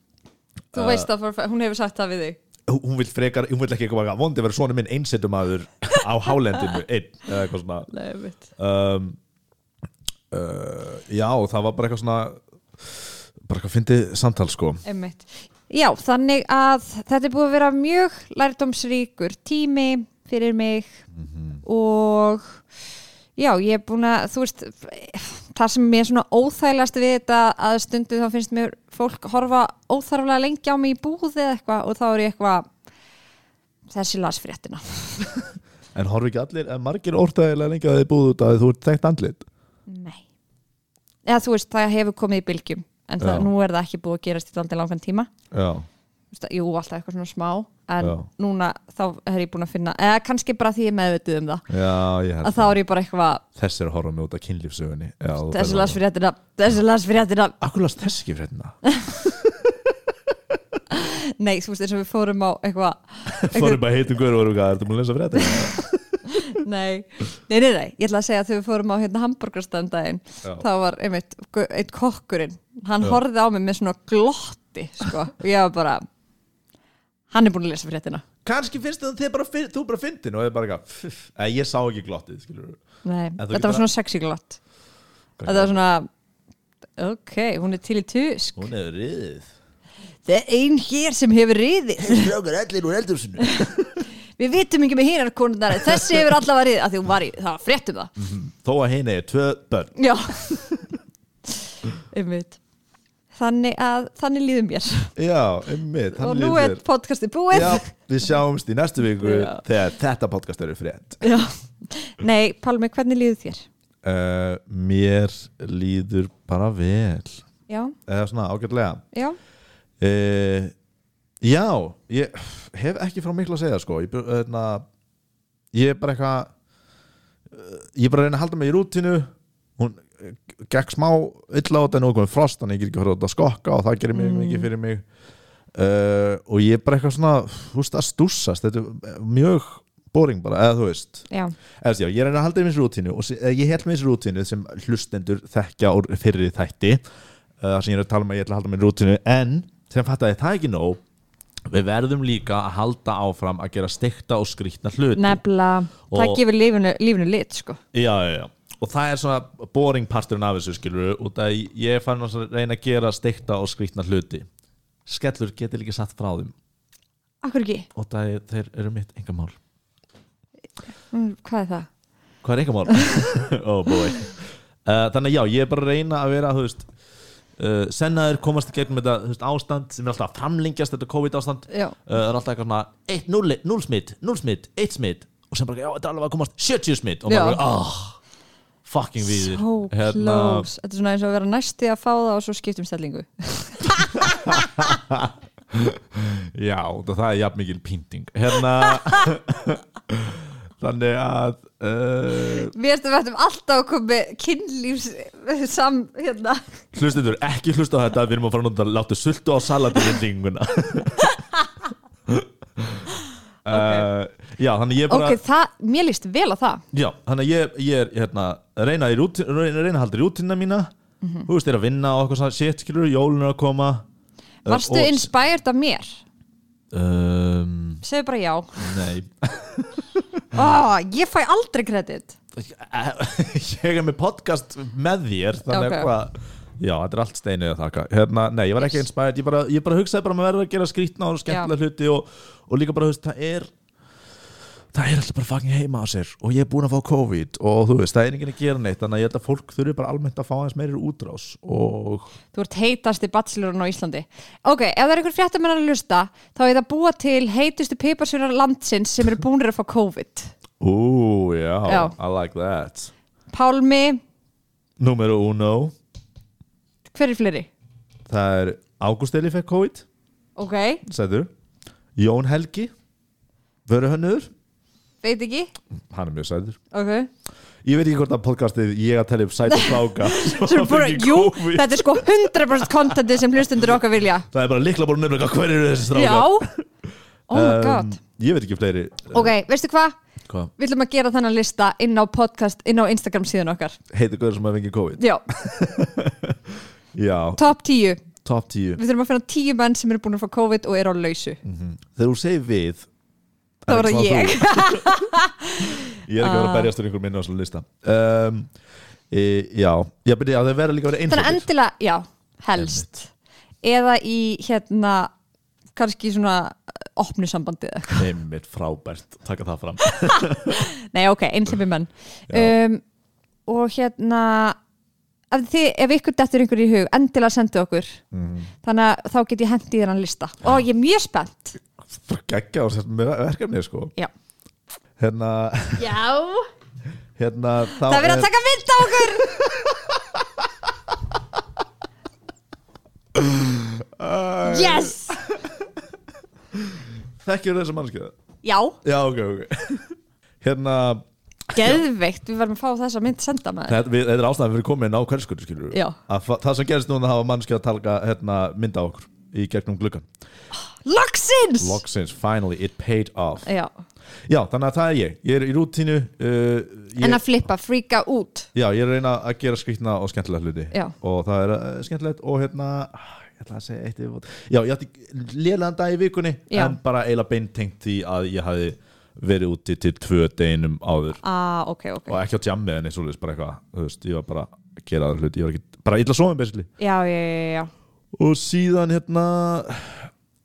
[SPEAKER 1] Þú veist það, for- hún hefur sagt það við þig
[SPEAKER 2] hún hún vill frekar, hún vill ekki eitthvað vondi verið svona minn einsetumadur á hálendinu einn, eða eitthvað svona
[SPEAKER 1] Nei, mitt
[SPEAKER 2] um, uh, já, það var bara eitthvað svona bara hvað fyndið samtal sko
[SPEAKER 3] Einmitt.
[SPEAKER 1] Já, þannig að þetta er búið að vera mjög lærdómsríkur tími fyrir mig og já, ég er búin að, þú veist, það sem mér er svona óþægilegast við þetta að stundu þá finnst mér fólk horfa óþarflega lengi á mig í búð eða eitthvað og þá er ég eitthvað þessi las fréttina.
[SPEAKER 2] en horfi ekki allir, en margir orðægilega lengi að þið búið út að þú ert þekkt andlit
[SPEAKER 1] Nei. Eða þú veist, það hefur komið í bylgjum en það,
[SPEAKER 2] Já.
[SPEAKER 1] nú er það ekki búið að gerast í daldið langan tíma.
[SPEAKER 2] já,
[SPEAKER 1] Þú veist, jú, alltaf eitthvað svona smá en
[SPEAKER 2] Já.
[SPEAKER 1] núna þá er ég búin að finna eða kannski bara því ég er meðvituð um það
[SPEAKER 2] já, ég held
[SPEAKER 1] að þá er ég bara eitthvað
[SPEAKER 2] þessi er að horfa mig út af kynlífsögunni já, þú
[SPEAKER 1] þessi
[SPEAKER 2] ferð
[SPEAKER 1] las fyrir hættina, þessi las fyrir hættina
[SPEAKER 2] að- Akkur las þess ekki hérna? fréttina
[SPEAKER 1] nei, þú veist, eins og við fórum á eitthvað
[SPEAKER 2] Fórum bara heitum guður og vorum hvað, ertu múin að lesa fréttina?
[SPEAKER 1] nei, nei, nei, nei, ég ætla að segja að þegar við fórum á hérna hambúrgarstandaginn
[SPEAKER 2] Já.
[SPEAKER 1] þá var einmitt, gu- einn kokkurinn hann
[SPEAKER 2] Já.
[SPEAKER 1] horfði á mig með svona glotti sko, og ég var bara hann er búin að lesa fyrir hættina
[SPEAKER 2] Kanski finnst þið að þið bara, finn- þú bara fyndin og þið bara eitthvað, pff, eh, ég sá ekki glottið skilur
[SPEAKER 1] nei,
[SPEAKER 2] En þú
[SPEAKER 1] þetta
[SPEAKER 2] getur
[SPEAKER 1] var svona sexy glott þetta var svona ok, hún er til í tusk
[SPEAKER 2] Hún hefur riðið
[SPEAKER 1] það er ein hér sem hefur riðið
[SPEAKER 2] Strákar allir úr eldursunum
[SPEAKER 1] við vitum ekki með hinar konundar þessi hefur allavega riðið, af því hún var í, það var fréttum það
[SPEAKER 2] Þó að hinn er tvö börn
[SPEAKER 1] Já Einmitt Þannig að, þannig líður mér
[SPEAKER 2] Já,
[SPEAKER 1] Og
[SPEAKER 2] einmitt, hann
[SPEAKER 1] nú er
[SPEAKER 2] líður
[SPEAKER 1] podcastið búið
[SPEAKER 2] Já, við sjáumst í næstu viku
[SPEAKER 1] Já.
[SPEAKER 2] þegar þetta podcast eru frétt
[SPEAKER 1] Já. Nei, Pálmi, hvernig líður þér?
[SPEAKER 2] uh, Mér líður bara vel
[SPEAKER 1] Já,
[SPEAKER 2] eða svona ágætlega
[SPEAKER 1] já,
[SPEAKER 2] uh, Já, ég hef ekki frá miklu að segja sko Ég, bu- hérna, ég er bara eitthvað eh, Ég er bara að reyna að halda mig í rútinu Hún eh, gekk smá illa á þetta en nú er komið frost Þannig ég get ekki horfði að skokka og það gerir mig mikið fyrir mig uh, Og ég er bara eitthvað svona Þú veist að stússast Þetta er mjög boring bara, eða þú veist
[SPEAKER 1] já,
[SPEAKER 2] Eða, þú veist, já, ég reyna að halda í minns rútínu og sé- eða ég held minns rútínu sem hlustendur þekkja úr fyrri þætti eh, þar sem ég er að tala um að ég ætla að halda minns rútínu en sem fattaði það ekki nóg við verðum líka að halda áfram að gera stekta og skrýtna hluti
[SPEAKER 1] nefnilega Það
[SPEAKER 2] Og-
[SPEAKER 1] gefur lífinu, lífinu lit, sko
[SPEAKER 2] já, já, já. og það er svona boring parturinn af þessu skilur út að ég er fann að reyna að gera stekta og skrýtna hluti skellur getur líka satt frá þeim
[SPEAKER 1] Akkur ekki,
[SPEAKER 2] og það er, þeir eru mitt engamál
[SPEAKER 1] Mm, hvað er það?
[SPEAKER 2] Hvað er einkamál? oh boy uh, Þannig að já, ég er bara að reyna að vera þú veist, uh, sennaður komast í gegnum þetta þú veist, ástand sem er alltaf að framlengjast þetta COVID ástand
[SPEAKER 1] Já.
[SPEAKER 2] uh, er alltaf eitthvað svona 1, 0, 0 smitt, 0 smitt, 1 smitt og sem bara, já, þetta er alveg að komast 70 smitt og
[SPEAKER 1] Já.
[SPEAKER 2] maður bara, ah fucking Hérna, víðir
[SPEAKER 1] So close Þetta er svona eins og að vera næsti að fá það og svo skiptum stellingu
[SPEAKER 2] Já, og það er jafn mikil pynting Hérna Þannig að uh,
[SPEAKER 1] Við erum þetta alltaf að koma með kynlífs sam, hérna
[SPEAKER 2] Hlustendur, ekki hlusta á þetta Við erum að fara að nota Láttu sultu á salatillinguna okay. Eh, Já, þannig ég bara
[SPEAKER 1] Ok, það, mér líst vel á það
[SPEAKER 2] Já, þannig ég, ég er hérna að reyna, í rúti- reyna, reyna að halda í rútina mína
[SPEAKER 1] Mhm.
[SPEAKER 2] Þú veist, er að vinna og eitthvað svona shit, skilur, jólun er að koma Eh,
[SPEAKER 1] Varstu
[SPEAKER 2] og-
[SPEAKER 1] inspired af mér?
[SPEAKER 2] Um,
[SPEAKER 1] Segðu bara já
[SPEAKER 2] nei
[SPEAKER 1] Oh, ég fæ aldrei kredit
[SPEAKER 2] Ég er með podcast með þér Þannig
[SPEAKER 1] Ok.
[SPEAKER 2] okay. hvað Já, þetta er allt steinuð að þakka hérna, Nei, ég var ekki inspired Ég bara, ég bara hugsaði bara að maður verður að gera skrýtna og skemmtilega hluti og, og líka bara, þú veist, það er Það er alltaf bara fucking heima á sér og ég er búin að fá COVID og þú veist, það er enginn að gera neitt þannig að ég held að fólk þurfi bara almennt að fá aðeins meiri útrás og
[SPEAKER 1] Þú ert heitasti bachelorinn á Íslandi Ok, ef það er einhver fréttamennar að lusta þá er það að búa til heitustu piparsjónar landsins sem eru búnir að fá COVID
[SPEAKER 2] Ú, já,
[SPEAKER 1] Já.
[SPEAKER 2] I like that
[SPEAKER 1] Pálmi,
[SPEAKER 2] Número uno,
[SPEAKER 1] hver er fleiri?
[SPEAKER 2] það er Ágúst Eli fekk COVID
[SPEAKER 1] Ok,
[SPEAKER 2] sætur, Jón Helgi Vöruhönnur
[SPEAKER 1] veit ekki
[SPEAKER 2] hann er mjög sætur
[SPEAKER 1] okay.
[SPEAKER 2] ég veit ekki hvort að podcastið ég að telja upp sætur stráka
[SPEAKER 1] Sem
[SPEAKER 2] sem
[SPEAKER 1] bara,
[SPEAKER 2] fengi
[SPEAKER 1] Jú,
[SPEAKER 2] COVID.
[SPEAKER 1] þetta er sko 100% contentið sem hlustundur okkar vilja
[SPEAKER 2] það er bara líkla búin nefnilega hver eru þessi stráka
[SPEAKER 1] Já, oh my god
[SPEAKER 2] ég veit ekki fleiri
[SPEAKER 1] Ok, veistu hvað?
[SPEAKER 2] Hvað?
[SPEAKER 1] Við ætlum að gera þennan lista inn á podcast, inn á Instagram síðan okkar
[SPEAKER 2] heitir guður sem að fengi COVID
[SPEAKER 1] Já,
[SPEAKER 2] já,
[SPEAKER 1] top 10
[SPEAKER 2] top 10
[SPEAKER 1] Við þurfum að finna 10 menn sem eru búin að fá COVID og eru á lausu
[SPEAKER 2] þegar þú segir við
[SPEAKER 1] Það
[SPEAKER 2] er
[SPEAKER 1] var
[SPEAKER 2] ekki
[SPEAKER 1] það
[SPEAKER 2] smá
[SPEAKER 1] ég Ah.
[SPEAKER 2] þú. ég er ekki að vera að berjast um einhver minna á svona lista um, e, já, ég byrja að það verða líka að vera
[SPEAKER 1] Þannig að
[SPEAKER 2] einhver
[SPEAKER 1] endilega, já, helst eða í hérna kannski svona opnusambandi eða eitthvað.
[SPEAKER 2] einmitt frábært, taka það fram
[SPEAKER 1] Nei, ok, einhleipi menn
[SPEAKER 2] Já.
[SPEAKER 1] um, og hérna ef, þið, ef ykkur dettur einhver í hug endilega sendu okkur
[SPEAKER 2] Mhm.
[SPEAKER 1] þannig að þá get ég hendið þennan lista og ég er mjög spennt
[SPEAKER 2] geggja á sér með verkefni sko
[SPEAKER 1] Já.
[SPEAKER 2] hérna,
[SPEAKER 1] Já,
[SPEAKER 2] hérna þá
[SPEAKER 1] það er verið að taka mynd á okkur Yes
[SPEAKER 2] þekkjur þessa mannskjöða
[SPEAKER 1] Já,
[SPEAKER 2] já ok, ok hérna,
[SPEAKER 1] geðveikt, við verðum að fá þessa mynd senda maður
[SPEAKER 2] þetta, við, þetta er ástæðan fyrir komin á hverskutu skilur
[SPEAKER 1] Já.
[SPEAKER 2] það sem gerist núna hafa mannskjöða talga hérna, mynda á okkur í gegnum gluggan
[SPEAKER 1] Loksins!
[SPEAKER 2] Logsins, finally, it paid off
[SPEAKER 1] Já,
[SPEAKER 2] já, þannig að það er ég, ég er í rútínu uh, ég,
[SPEAKER 1] en að flippa, fríka út
[SPEAKER 2] já, ég er að reyna að gera skrýtna og skemmtilega hluti
[SPEAKER 1] Já.
[SPEAKER 2] og það er uh, skemmtilegt og hérna ah, ég ætla að segja eitt yfirbót já, ég átti lélegan dag í vikunni
[SPEAKER 1] Já.
[SPEAKER 2] en bara eiginlega beintengt því að ég hafi verið úti til tvö deginum áður
[SPEAKER 1] Ah, ok, ok
[SPEAKER 2] og ekki á tjammi en eins og leis bara eitthvað þú veist, ég var bara að gera aðra hluti ég var ekki, bara illa sofin basically
[SPEAKER 1] Já, já, já, já
[SPEAKER 2] og síðan hérna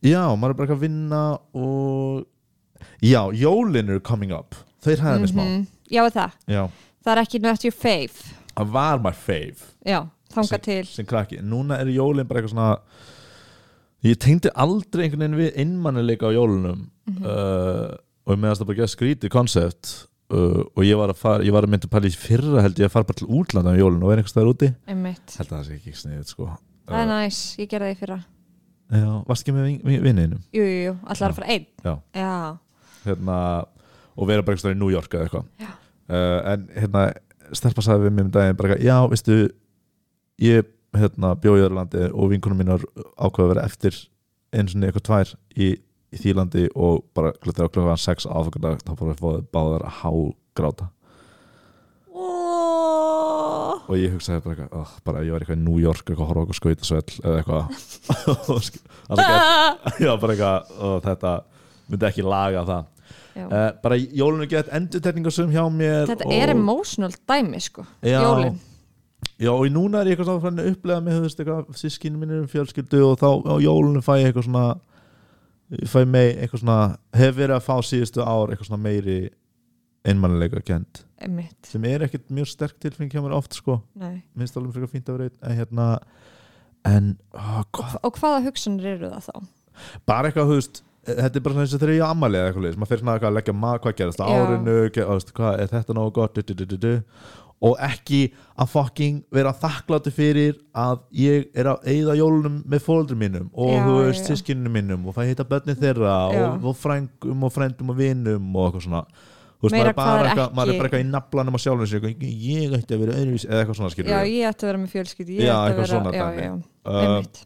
[SPEAKER 2] já, maður er bara eitthvað að vinna og já, jólin eru coming up þeir hæða mig smá
[SPEAKER 1] mm, Já, er það,
[SPEAKER 2] já,
[SPEAKER 1] það er ekki not your fave
[SPEAKER 2] það var my fave
[SPEAKER 1] Já, þanga
[SPEAKER 2] sem,
[SPEAKER 1] til
[SPEAKER 2] sem krakki, núna eru jólin bara eitthvað svona ég tengdi aldrei einhvern veginn við einmannileika á jólunum uh, og meðan það bara geða skrítið koncept uh, og ég var að fara, ég var að mynda pæli í fyrra held ég að fara bara til útlanda á jólun og vera einhvers staðar úti
[SPEAKER 1] Einmitt.
[SPEAKER 2] held að það sé ekki sniðið sko Uh,
[SPEAKER 1] Það er næs, ég gerði það í fyrra
[SPEAKER 2] já, varst ekki með vin- vin- vininum
[SPEAKER 1] Jú, jú, jú, allar að fara einn
[SPEAKER 2] já
[SPEAKER 1] Já,
[SPEAKER 2] hérna, og vera bara einhverstað í New York eða eitthvað
[SPEAKER 1] Já.
[SPEAKER 2] uh, en hérna, stelpa sagði við mér um daginn bara, eitthvað, já, veistu ég hérna, bjó í Öðurlandi og vinkunum mínar ákveða að vera eftir eins og eitthvað tvær í, í Þýlandi og bara glöður á klokkan 6 áfangardag þá bara fóðu báðar að hágráta
[SPEAKER 1] oh.
[SPEAKER 2] og ég hugsaði bara eitthvað, oh, bara ég var eitthvað í New York eitthvað horfa okkur skautasvell eða eitthvað og sk- allt ekki
[SPEAKER 1] ah.
[SPEAKER 2] já, bara eitthvað, og þetta myndi ekki laga það
[SPEAKER 1] Já.
[SPEAKER 2] uh, bara jólun er gett endurtekningarsum hjá mér
[SPEAKER 1] Þetta
[SPEAKER 2] og,
[SPEAKER 1] er emotional dæmi sko
[SPEAKER 2] Já.
[SPEAKER 1] Jólin
[SPEAKER 2] já, og í núna er ég eitthvað svona farin að upplega með þú veist, eitthvað, sískinu mínir um fjölskyldu og þá á jólunum fæ ég eitthvað svona ég fæ mig eitthvað svona hef verið að fá síðustu ár eitthvað svona meiri einmannilega kent
[SPEAKER 1] Einmitt,
[SPEAKER 2] sem er ekkit mjög sterk tilfeng hjá mér oft sko,
[SPEAKER 1] nei
[SPEAKER 2] minnst alveg fyrir að fínt að vera einn en hérna en, ó, hvað,
[SPEAKER 1] Og hvaða hugsanir eru það þá?
[SPEAKER 2] bara eitthvað, þú veist eh, þetta er bara svona eins og þegar ég á ammali eða eitthvað leis maður fyrir svona eitthvað að leggja maður, hvað gerðist á
[SPEAKER 1] Já.
[SPEAKER 2] árinu ger, á, veist, hvað, er þetta nógu gott du, du, du, du, du. og ekki að fucking vera þakkláttu fyrir að ég er að eyða jólunum með fóldur mínum og
[SPEAKER 1] Já,
[SPEAKER 2] þú
[SPEAKER 1] já,
[SPEAKER 2] veist
[SPEAKER 1] já.
[SPEAKER 2] sískininu mínum og fæ hitta börni þeirra
[SPEAKER 1] Já.
[SPEAKER 2] og, og frængum og frændum og vinum og eitthvað svona Þú veist,
[SPEAKER 1] Meira
[SPEAKER 2] maður er bara
[SPEAKER 1] hvað er
[SPEAKER 2] eitthvað, maður er
[SPEAKER 1] ekki-
[SPEAKER 2] bara eitthvað í naflanum á sjálfum sér, eitthvað, ég ætti að vera öðruvísi eða eitthvað svona skilur
[SPEAKER 1] Já, ég ætti að vera með fjölskyldi ég
[SPEAKER 2] Já,
[SPEAKER 1] ætti að
[SPEAKER 2] eitthvað
[SPEAKER 1] vera,
[SPEAKER 2] svona
[SPEAKER 1] já,
[SPEAKER 2] dæmi.
[SPEAKER 1] já,
[SPEAKER 2] Um,
[SPEAKER 1] Einmitt,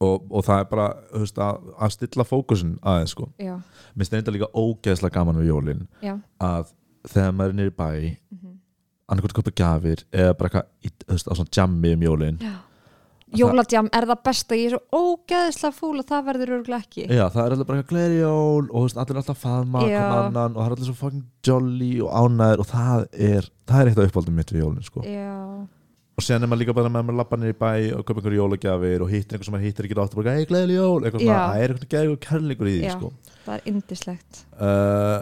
[SPEAKER 2] og, og það er bara þú veist, að, að stilla fókusin aðeins sko.
[SPEAKER 1] já,
[SPEAKER 2] Mér finnst þetta líka ógeðslega gaman við jólin
[SPEAKER 1] já
[SPEAKER 2] að þegar maður er niður í bæ mm
[SPEAKER 1] Mhm.
[SPEAKER 2] -hmm. annarkvæmt köpa gjafir eða bara eitthvað í- þú veist, á svona jammi um jólin
[SPEAKER 1] Jóladjam er það besta, ég er svo ógeðislega fúl og það verður örgulega ekki
[SPEAKER 2] Já, það er alltaf bara eitthvað gleðið jól og þú veist, allir er alltaf að faðma
[SPEAKER 1] Já.
[SPEAKER 2] hvern annan og það er allir svo fucking jolly og ánæður og það er, það er eitt af uppáldum mitt við jólin sko.
[SPEAKER 1] Já,
[SPEAKER 2] og séðan er maður líka bara með að maður lappa niður í bæ og köpa einhverju jólagjafir og hittir einhver sem maður hittir ekki átt og bara, hei, gleðið jól, eitthvað svona,
[SPEAKER 1] Já.
[SPEAKER 2] það er eitthvað geðið og kærleikur í því
[SPEAKER 1] Já.
[SPEAKER 2] sko.
[SPEAKER 1] það er indislegt
[SPEAKER 2] Uh,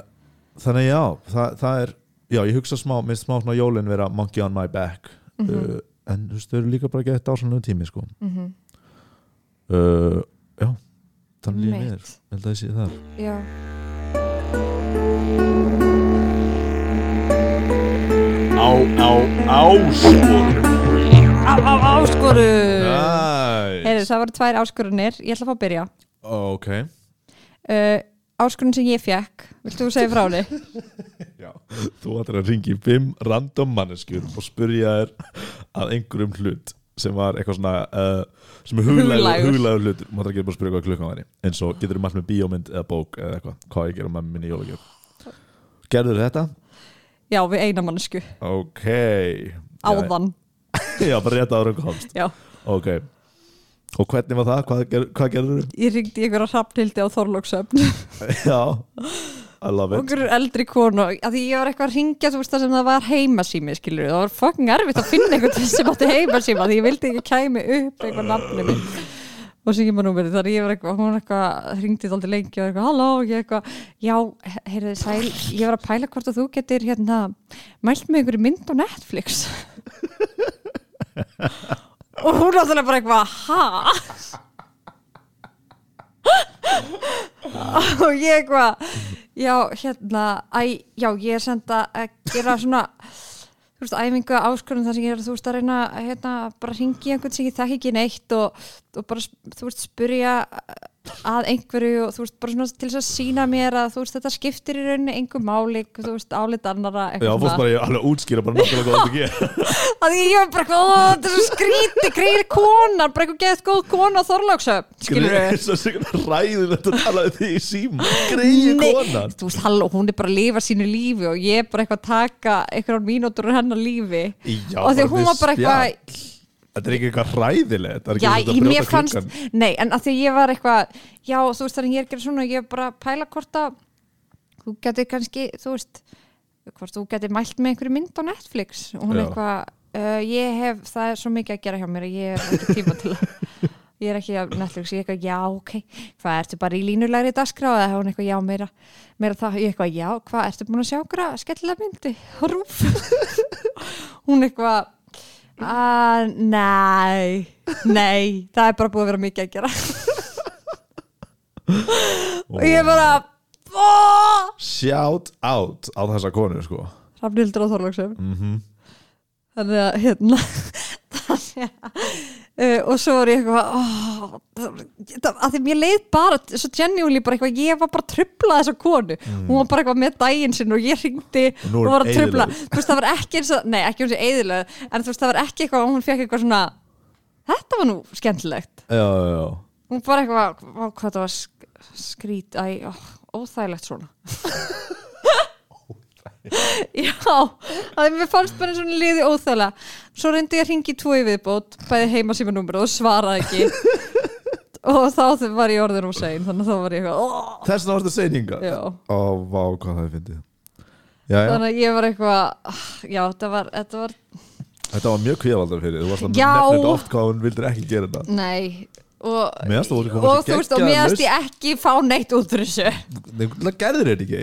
[SPEAKER 2] þannig að já, það, það er já, ég hugsa smá, minnst smá svona jólin vera monkey on my back uh, en þú veist, þau eru líka bara gett ásannlega tími sko.
[SPEAKER 1] mm -hmm.
[SPEAKER 2] uh, já, þannig líður mér
[SPEAKER 1] Mitt,
[SPEAKER 2] ég held að ég sé það
[SPEAKER 1] já
[SPEAKER 4] á, á, áskorun
[SPEAKER 1] Á, á, áskorun
[SPEAKER 2] nice. Oh,
[SPEAKER 1] Heyrðu, það voru tvær áskorunir, ég ætla að fá að byrja
[SPEAKER 2] ok
[SPEAKER 1] uh, Áskorun sem ég fekk, viltu þú segja frá henni?
[SPEAKER 2] já. þú ættir að ringi fimm random manneskjur og spurja þér að einhverjum hlut sem var eitthvað svona uh, sem er huglægur,
[SPEAKER 1] Huglægur.
[SPEAKER 2] huglægur hlut maður þarf ekki bara að spyrja hvað klukkan væri eins og getur þú mælt með bíómynd eða bók eða eitthvað hvað ég gera með minni jólagjöf gerður þetta?
[SPEAKER 1] Já, við eina mannsku,
[SPEAKER 2] Ok
[SPEAKER 1] áðan
[SPEAKER 2] Já, já bara rétt ára um komst
[SPEAKER 1] Já,
[SPEAKER 2] Ok Og hvernig var það? Hvað, ger, hvað gerður þú?
[SPEAKER 1] ég ringdi í einhverja hrafnildi á Þorlóksöfn
[SPEAKER 2] Já I love it
[SPEAKER 1] okkur eldri konu, að því ég var eitthvað að ringja þú veist það sem það var heimasími skilur það var fucking erfitt að finna einhvern sem átti heimasíma því ég vildi ekki kæmi upp eitthvað nafni minn og símanúmerið þar ég var eitthvað, hún eitthvað hringdi þáldi lengi og var eitthvað, halló, ég eitthvað já, heyrðu sæl, ég var að pæla hvort að þú getur hérna, mælt með ykkur mynd á Netflix og hún náttúrulega bara eitthvað, ha? og ég eitthvað já, hérna, æ, já, ég er send að að gera svona þú veist, æfingu áskorun þar sem ég er þú veist að reyna, að, hérna, bara ringi einhvern sem ég þekki ekki neitt og, og bara, þú veist, spurja að einhverju og þú veist, bara svona til þess að sína mér að þú veist, þetta skiptir í rauninni einhver máli, þú veist, álit annara eitthvað
[SPEAKER 2] Já, fórst
[SPEAKER 1] svona.
[SPEAKER 2] bara ég alveg að útskýra bara nákvæmlega hvað þetta gerir
[SPEAKER 1] að því ég var bara, hvað, þetta er svo skríti greið konar, bara eitthvað geðið góð kona á Þorláksöp, skilur
[SPEAKER 2] Greyið, Svo sigur ræðilegt að tala við þig í síma Greiði konan
[SPEAKER 1] þú veist, halló, hún er bara að lifa sínu lífi og ég er bara eitthvað að taka einhverjum mínútur úr hennar lífi
[SPEAKER 2] Já,
[SPEAKER 1] og því
[SPEAKER 2] bara
[SPEAKER 1] að hún var bara
[SPEAKER 2] spjall.
[SPEAKER 1] eitthvað
[SPEAKER 2] Þetta er ekki eitthvað ræðilegt Það er ekki
[SPEAKER 1] já,
[SPEAKER 2] svona að
[SPEAKER 1] í
[SPEAKER 2] brjóta
[SPEAKER 1] mér fannst,
[SPEAKER 2] klukkan.
[SPEAKER 1] nei, en að því að ég var eitthvað já, þú veist, þannig að ég er að gera svona ég er bara að pæla hvort að þú getur kannski, þú veist hvort þú getur mælt með einhverju mynd á Netflix og hún
[SPEAKER 2] Já.
[SPEAKER 1] eitthvað, uh, ég hef það er svo mikið að gera hjá mér að ég hef ekki tíma til að ég er ekki á Netflix, ég eitthvað, já, ok hvað, ertu bara í línulegri dagskrá eða hefur hún eitthvað, já, meira, meira það, ég eitthvað, já, hvað, ertu búin að sjá okkur að skellilega myndi rúf hún eitthvað að, nei nei, það er bara búið að vera mikið að gera og ég bara aaaah
[SPEAKER 2] Shout out á þessa konu sko
[SPEAKER 1] Rafnildur á Þorlóksum
[SPEAKER 2] Mhm.
[SPEAKER 1] þannig að hérna þannig að Uh, og svo var ég eitthvað oh, að því mér leið bara svo genuinely bara eitthvað, ég var bara að trubla þessa konu, hún var bara eitthvað með daginn sinn og ég ringdi
[SPEAKER 2] Mm. Og nú
[SPEAKER 1] og
[SPEAKER 2] er
[SPEAKER 1] var að
[SPEAKER 2] hún
[SPEAKER 1] trubla
[SPEAKER 2] eyðilögð.
[SPEAKER 1] þú veist það var ekki eins og, nei ekki eins og eðileg en þú veist það var ekki eitthvað, að hún fekk eitthvað svona þetta var nú skemmtilegt
[SPEAKER 2] Já, já, já
[SPEAKER 1] hún bara eitthvað, "Vá, hvað það var sk- skrít æ, ó, óþægilegt svona já að mér fannst bara svona liði óþægilega svo reyndi ég að ringi tvo í viðbót bæði heima síma númur og svaraði ekki og þá var ég orðin um sein þannig að þá var ég eitthvað "Ó."
[SPEAKER 2] Þess vegna varstu seininga
[SPEAKER 1] Já.
[SPEAKER 2] Ó, vá, hvað það er fyndið Já, já,
[SPEAKER 1] þannig að ég var eitthvað "Ah, já, þetta var, þetta var
[SPEAKER 2] þetta var mjög kvíðavaldar fyrir Þú varst að
[SPEAKER 1] Já.
[SPEAKER 2] nefna þetta oft hvað hún vildir ekki gera þetta
[SPEAKER 1] nei og,
[SPEAKER 2] Mér fannst það voru komið
[SPEAKER 1] og
[SPEAKER 2] svo
[SPEAKER 1] þú veist, og
[SPEAKER 2] geggjaða
[SPEAKER 1] mér veist
[SPEAKER 2] lausn.
[SPEAKER 1] ég ekki fá neitt út úr þessu
[SPEAKER 2] Nei, Það gerðir þetta ekki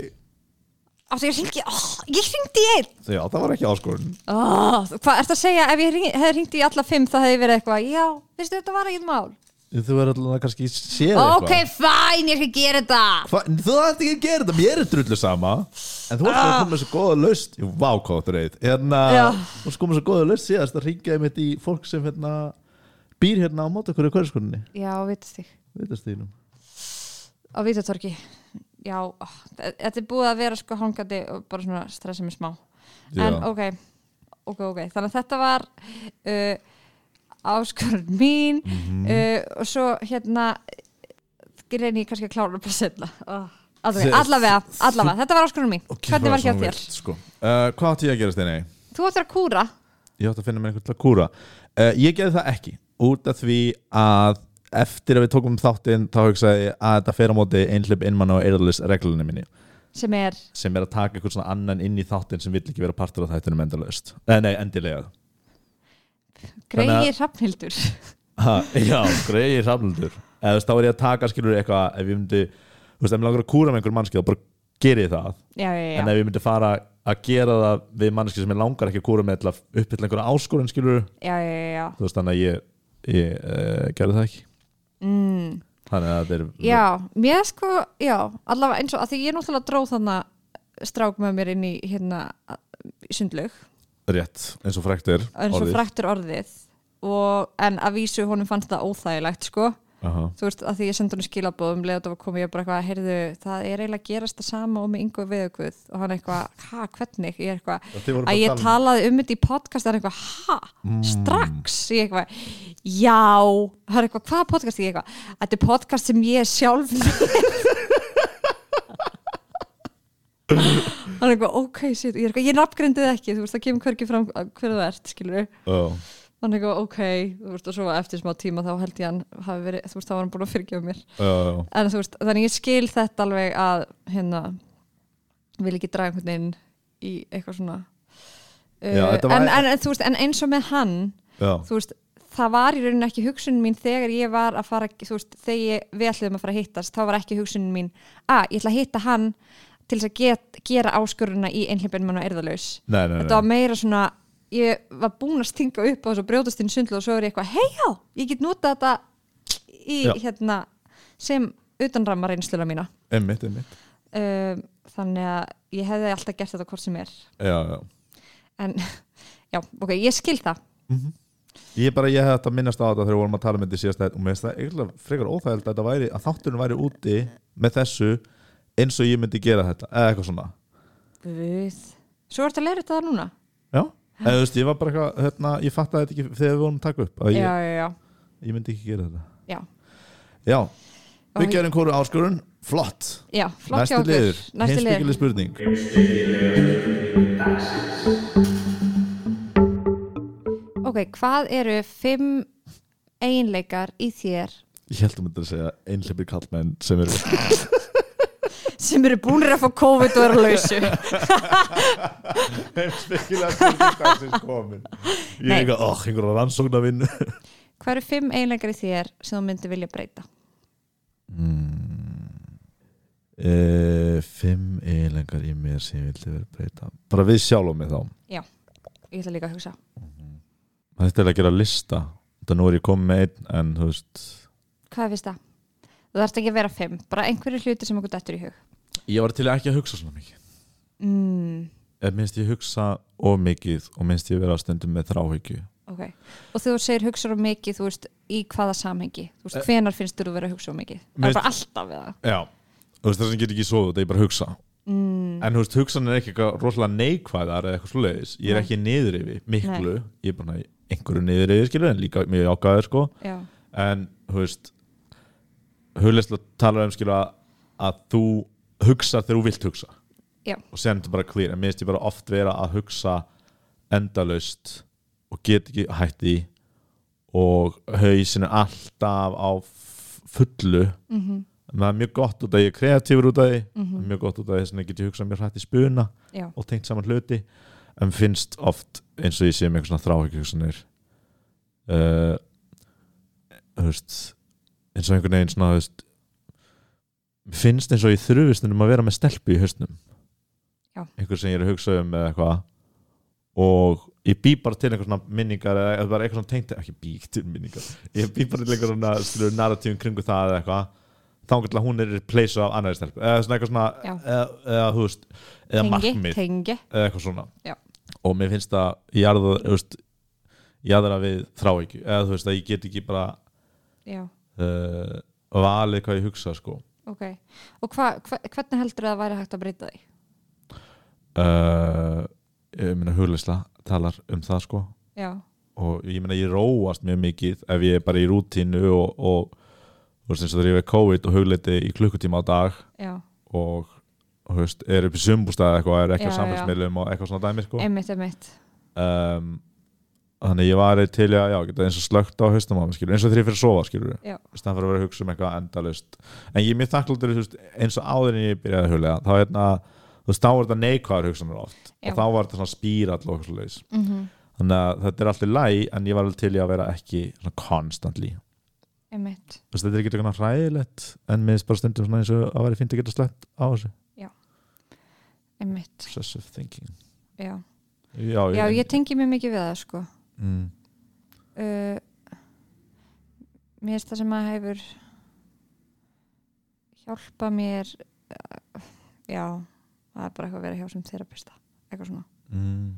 [SPEAKER 1] af því ég ringi, oh, ég ringi einn
[SPEAKER 2] Já, það var ekki áskorun
[SPEAKER 1] Oh, hvað ert að segja, ef ég hring, hefði ringt í alla fimm það hefði verið eitthvað, já, veistu þetta var ekkert mál
[SPEAKER 2] Þú er alltaf kannski séð
[SPEAKER 1] Ok, fæn, ég skal gera þetta
[SPEAKER 2] Hva, þú ætti ekki að gera þetta, mér er drullu sama En þú varst að koma með svo góða laust Jú, vá, hvað þú reyð En að
[SPEAKER 1] Ah. Já.
[SPEAKER 2] þú varst að koma með svo góða laust síðast að ringja einmitt í fólk sem hérna, býr hérna á móti hverju hverjaskunni
[SPEAKER 1] Já, vitast þig,
[SPEAKER 2] Vitastíðnum
[SPEAKER 1] á Vítatorki Já, ó, þetta er búið að vera sko hangandi og bara svona stressa mig smá En
[SPEAKER 2] Já.
[SPEAKER 1] ok, ok, ok Þannig að þetta var uh, áskorun mín uh, og svo hérna reyni ég kannski að klára bara setna oh, allavega,
[SPEAKER 2] Þe-
[SPEAKER 1] allavega, allavega, þetta var áskorun mín Hvernig var hjá þér?
[SPEAKER 2] sko. uh, Hvað átti ég að gera Steini?
[SPEAKER 1] Þú ættir að kúra
[SPEAKER 2] Ég átti að finna mér einhvern til að kúra uh, Ég gerði það ekki Út af því að eftir að við tókum þáttinn þá hugsaði ég að þetta fer á móti einhleip innmann og eirðalist reglunni minni
[SPEAKER 1] sem er
[SPEAKER 2] sem er að taka eitthvað svona annan inn í þáttinn sem vill ekki vera partur af þættunum endalaust Nei, nei, endilega Þannig að-
[SPEAKER 1] Greiði Hrafnhildur
[SPEAKER 2] Ha, já, greiði samlundur eða þú veist, þá er ég að taka skilur eitthvað ef ég myndi, þú veist, ef ég langar að kúra með einhver mannski þá bara geri ég það
[SPEAKER 1] Já, já, já,
[SPEAKER 2] en ef ég myndi fara að gera það við mannski sem ég langar ekki að kúra með til að uppfylla einhverja áskorun skilur,
[SPEAKER 1] já, já, já, já.
[SPEAKER 2] þú veist, þannig að ég, ég uh, gerði það ekki mm. þannig að þetta er
[SPEAKER 1] Já, mér sko, já, allavega eins og að því ég náttúrulega dróð þannig strák með mér inn í hérna í sundlaug,
[SPEAKER 2] rétt, eins og frækt er
[SPEAKER 1] eins og fræktur orðið og en að vísu honum fannst það óþægilegt sko,
[SPEAKER 2] Aha.
[SPEAKER 1] þú veist að því ég sendi honum skilabóðum leið og það var komið ég bara eitthvað, heyrðu, það er eiginlega að gerast það sama og með yngu viðaukvöð og hann eitthvað, ha, hvernig, ég er
[SPEAKER 2] Já, þið
[SPEAKER 1] eitthvað
[SPEAKER 2] voruð bara
[SPEAKER 1] að ég
[SPEAKER 2] að tala um- Mm.
[SPEAKER 1] talaði um þetta í podcast hann eitthvað, ha, strax ég eitthvað, já hann eitthvað, hvaða podcast ég eitthvað þetta er podcast sem ég er sjálf með." hann eitthvað, ok, shit, ég er eitthvað, ég nafngrindið ekki, þú veist, það kemur hvergi fram hverðu þú ert, skilur
[SPEAKER 2] Oh.
[SPEAKER 1] hann eitthvað, ok, þú veist, og svo eftir smá tíma þá held ég hann hafi verið, þú veist, þá var hann búin að fyrirgefa mér
[SPEAKER 2] Uh,
[SPEAKER 1] en þú veist, þannig ég skil þetta alveg að hérna, vil ekki draga einhvern veginn í eitthvað svona uh,
[SPEAKER 2] Já, þetta var-
[SPEAKER 1] en, en, en þú veist, en eins og með hann
[SPEAKER 2] já,
[SPEAKER 1] þú veist, það var í rauninu ekki hugsun mín þegar ég var að fara, þú veist, þegar ég, við ætluðum að fara að hittast, þá var ekki hugsun mín að ég ætla að hitta hann til þess að get, gera áskuruna í einhleipinu mann og erðalaus.
[SPEAKER 2] Nei, nei, nei.
[SPEAKER 1] Þetta var meira svona, ég var búin að stinga upp á þessu brjótastinn sundlu og svo er ég eitthvað, hei já, ég get notað þetta í,
[SPEAKER 2] Já.
[SPEAKER 1] hérna, sem utanramma reynsluna mína.
[SPEAKER 2] Einmitt, einmitt
[SPEAKER 1] Um, þannig að ég hefði alltaf gert þetta hvort sem er.
[SPEAKER 2] Já, já
[SPEAKER 1] En, já, ok, ég skil það.
[SPEAKER 2] Ég bara, ég hef þetta minnast á þetta þegar við vorum að tala með þetta síðast og mér finnst það eiginlega frekar óþægild að, þetta væri, að þátturinn væri úti með þessu eins og ég myndi gera þetta eða eitthvað svona
[SPEAKER 1] Guð. Svo ertu að leira þetta núna?
[SPEAKER 2] Já, eða þú veist, ég var bara eitthvað hérna, ég fattaði þetta ekki þegar við vorum að taka upp að
[SPEAKER 1] Já,
[SPEAKER 2] ég,
[SPEAKER 1] já, já.
[SPEAKER 2] ég myndi ekki gera þetta
[SPEAKER 1] Já,
[SPEAKER 2] Já,
[SPEAKER 1] Og
[SPEAKER 2] við gerum kóru áskurun flott,
[SPEAKER 1] já flott hjá
[SPEAKER 2] næsti
[SPEAKER 1] okkur.
[SPEAKER 2] liður,
[SPEAKER 1] Næsti liður.
[SPEAKER 2] heimspekileg spurning
[SPEAKER 1] Ok, hvað eru fimm eiginleikar í þér
[SPEAKER 2] Ég held að mynda að segja einhleipir kallmenn sem eru
[SPEAKER 1] sem eru búinir að fá COVID og eru að lausu?
[SPEAKER 2] heimspekilega spurning dagsins komin Ég er
[SPEAKER 1] Nei.
[SPEAKER 2] eitthvað, óh, einhverja rannsóknarvinn
[SPEAKER 1] Hvað eru fimm eiginleikar í þér sem þú myndir vilja breyta?
[SPEAKER 2] Uh, Hmm. fimm eiginlegar í mér sem ég vildi vera breyta bara við sjálfum mig þá
[SPEAKER 1] Ég ætla líka að hugsa.
[SPEAKER 2] maður þetta er að gera lista þetta nú er ég komið með einn en þú veist
[SPEAKER 1] Hvað er fyrst það? Þú þarfst ekki að vera fimm, bara einhverju hluti sem okkur dættur í hug.
[SPEAKER 2] ég var til ekki að hugsa svona mikið
[SPEAKER 1] Mm,
[SPEAKER 2] eða minnst ég hugsa of mikið og minnst ég vera á stundum með þráhyggju
[SPEAKER 1] ok. Og þegar þú segir hugsa á mikið, þú veist, í hvaða samhengi? Þú veist, hvenar finnst þú vera að hugsa á mikið? Það
[SPEAKER 2] Eh. Mér
[SPEAKER 1] er bara alltaf við það.
[SPEAKER 2] já þú veist þess að ég get ekki svo þetta er bara að hugsa
[SPEAKER 1] Mm,
[SPEAKER 2] en þú veist hugsan er ekki eitthvað rosalega neikvæðar eða eitthvað svoleiðis ég er
[SPEAKER 1] Nei.
[SPEAKER 2] ekki niður yfir miklu ég er bara einhverju niður yfir skilur en líka mjög ákvæður sko
[SPEAKER 1] já,
[SPEAKER 2] en þú veist hugleysla talar um skilur að, að þú hugsa þegar þú vilt hugsa
[SPEAKER 1] Já.
[SPEAKER 2] og sen er þetta bara clear en mér finnst ég bara oft vera að hugsa endalaust og get ekki hætt í og hausin er alltaf á f- fullu mm -hmm. það er mjög gott út að ég er kreatífur út af því það er mjög gott út af því að ég geti hugsað mér hrætt í spuna
[SPEAKER 1] já.
[SPEAKER 2] og tengt saman hluti en finnst oft eins og ég sé með einhver svona þráhyggjugsanir uh, þú veist eins og einhvern veginn svona þú veist, mér finnst eins og ég þrjufist um að vera með stelpu í hausnum
[SPEAKER 1] Já.
[SPEAKER 2] einhver sem ég er að hugsa um eða eitthvað og ég bý bara til einhver svona minningar eða eða bara eitthvað svona tengt ekki bý til minningar ég bý bara til einhver svona skilur narratífum kringu það eða eitthvað þá getur að hún er replace af annari stelpu eða svona eitthvað svona
[SPEAKER 1] Já.
[SPEAKER 2] eða, eða, þú veist, eða markmið
[SPEAKER 1] tengi.
[SPEAKER 2] eða eitthvað svona
[SPEAKER 1] Já.
[SPEAKER 2] og mér finnst að ég jarða þú veist, jarða við þrá ekki eða þú veist að ég get ekki bara
[SPEAKER 1] Já,
[SPEAKER 2] uh, valið hvað ég hugsa sko
[SPEAKER 1] ok. Og hva, hva, hvernig heldur það að væri hægt að breyta því?
[SPEAKER 2] uh, ég meina hugleysla talar um það sko
[SPEAKER 1] Já,
[SPEAKER 2] og ég meina ég róast mjög mikið ef ég er bara í rútínu og, og þú veist eins og þegar ég var COVID og hugleiti í klukkutíma á dag
[SPEAKER 1] já.
[SPEAKER 2] og þú veist, er upp í sumbústað eitthvað, er ekki á
[SPEAKER 1] Já, já.
[SPEAKER 2] samfélagsmiðlum og eitthvað svona dæmi sko
[SPEAKER 1] Einmitt, einmitt.
[SPEAKER 2] um, þannig ég var til í að já, geta eins og slögt á haustum á mig skilur, eins og þegar ég fyrir að sofa skilur
[SPEAKER 1] Já.
[SPEAKER 2] stann fyrir að vera að hugsa um eitthvað endalust en ég er mjög þakkláttur þú veist, eins og áður en ég byrjaði að huglega þá, hérna, þú veist, þá var þetta neikvæðar hugsanar oft
[SPEAKER 1] Já.
[SPEAKER 2] og þá var þetta svona spírall og eitthvað leis
[SPEAKER 1] Mm
[SPEAKER 2] þannig að þetta er alltaf læg en ég var alveg til í að vera ekki svona constantly
[SPEAKER 1] Einmitt.
[SPEAKER 2] Þú veist, þetta er ekki eitthvað ræðilegt en minnst bara stundum svona eins og að vera fínt að geta slett á þessu
[SPEAKER 1] Einmitt,
[SPEAKER 2] obsessive thinking
[SPEAKER 1] já.
[SPEAKER 2] já,
[SPEAKER 1] Já, ég tengi mjög mikið við það, sko.
[SPEAKER 2] mm,
[SPEAKER 1] Uh, mér finnst það sem að hefur hjálpa mér uh, já, það er bara eitthvað að vera hjá sem þerapista, eitthvað svona.
[SPEAKER 2] mm,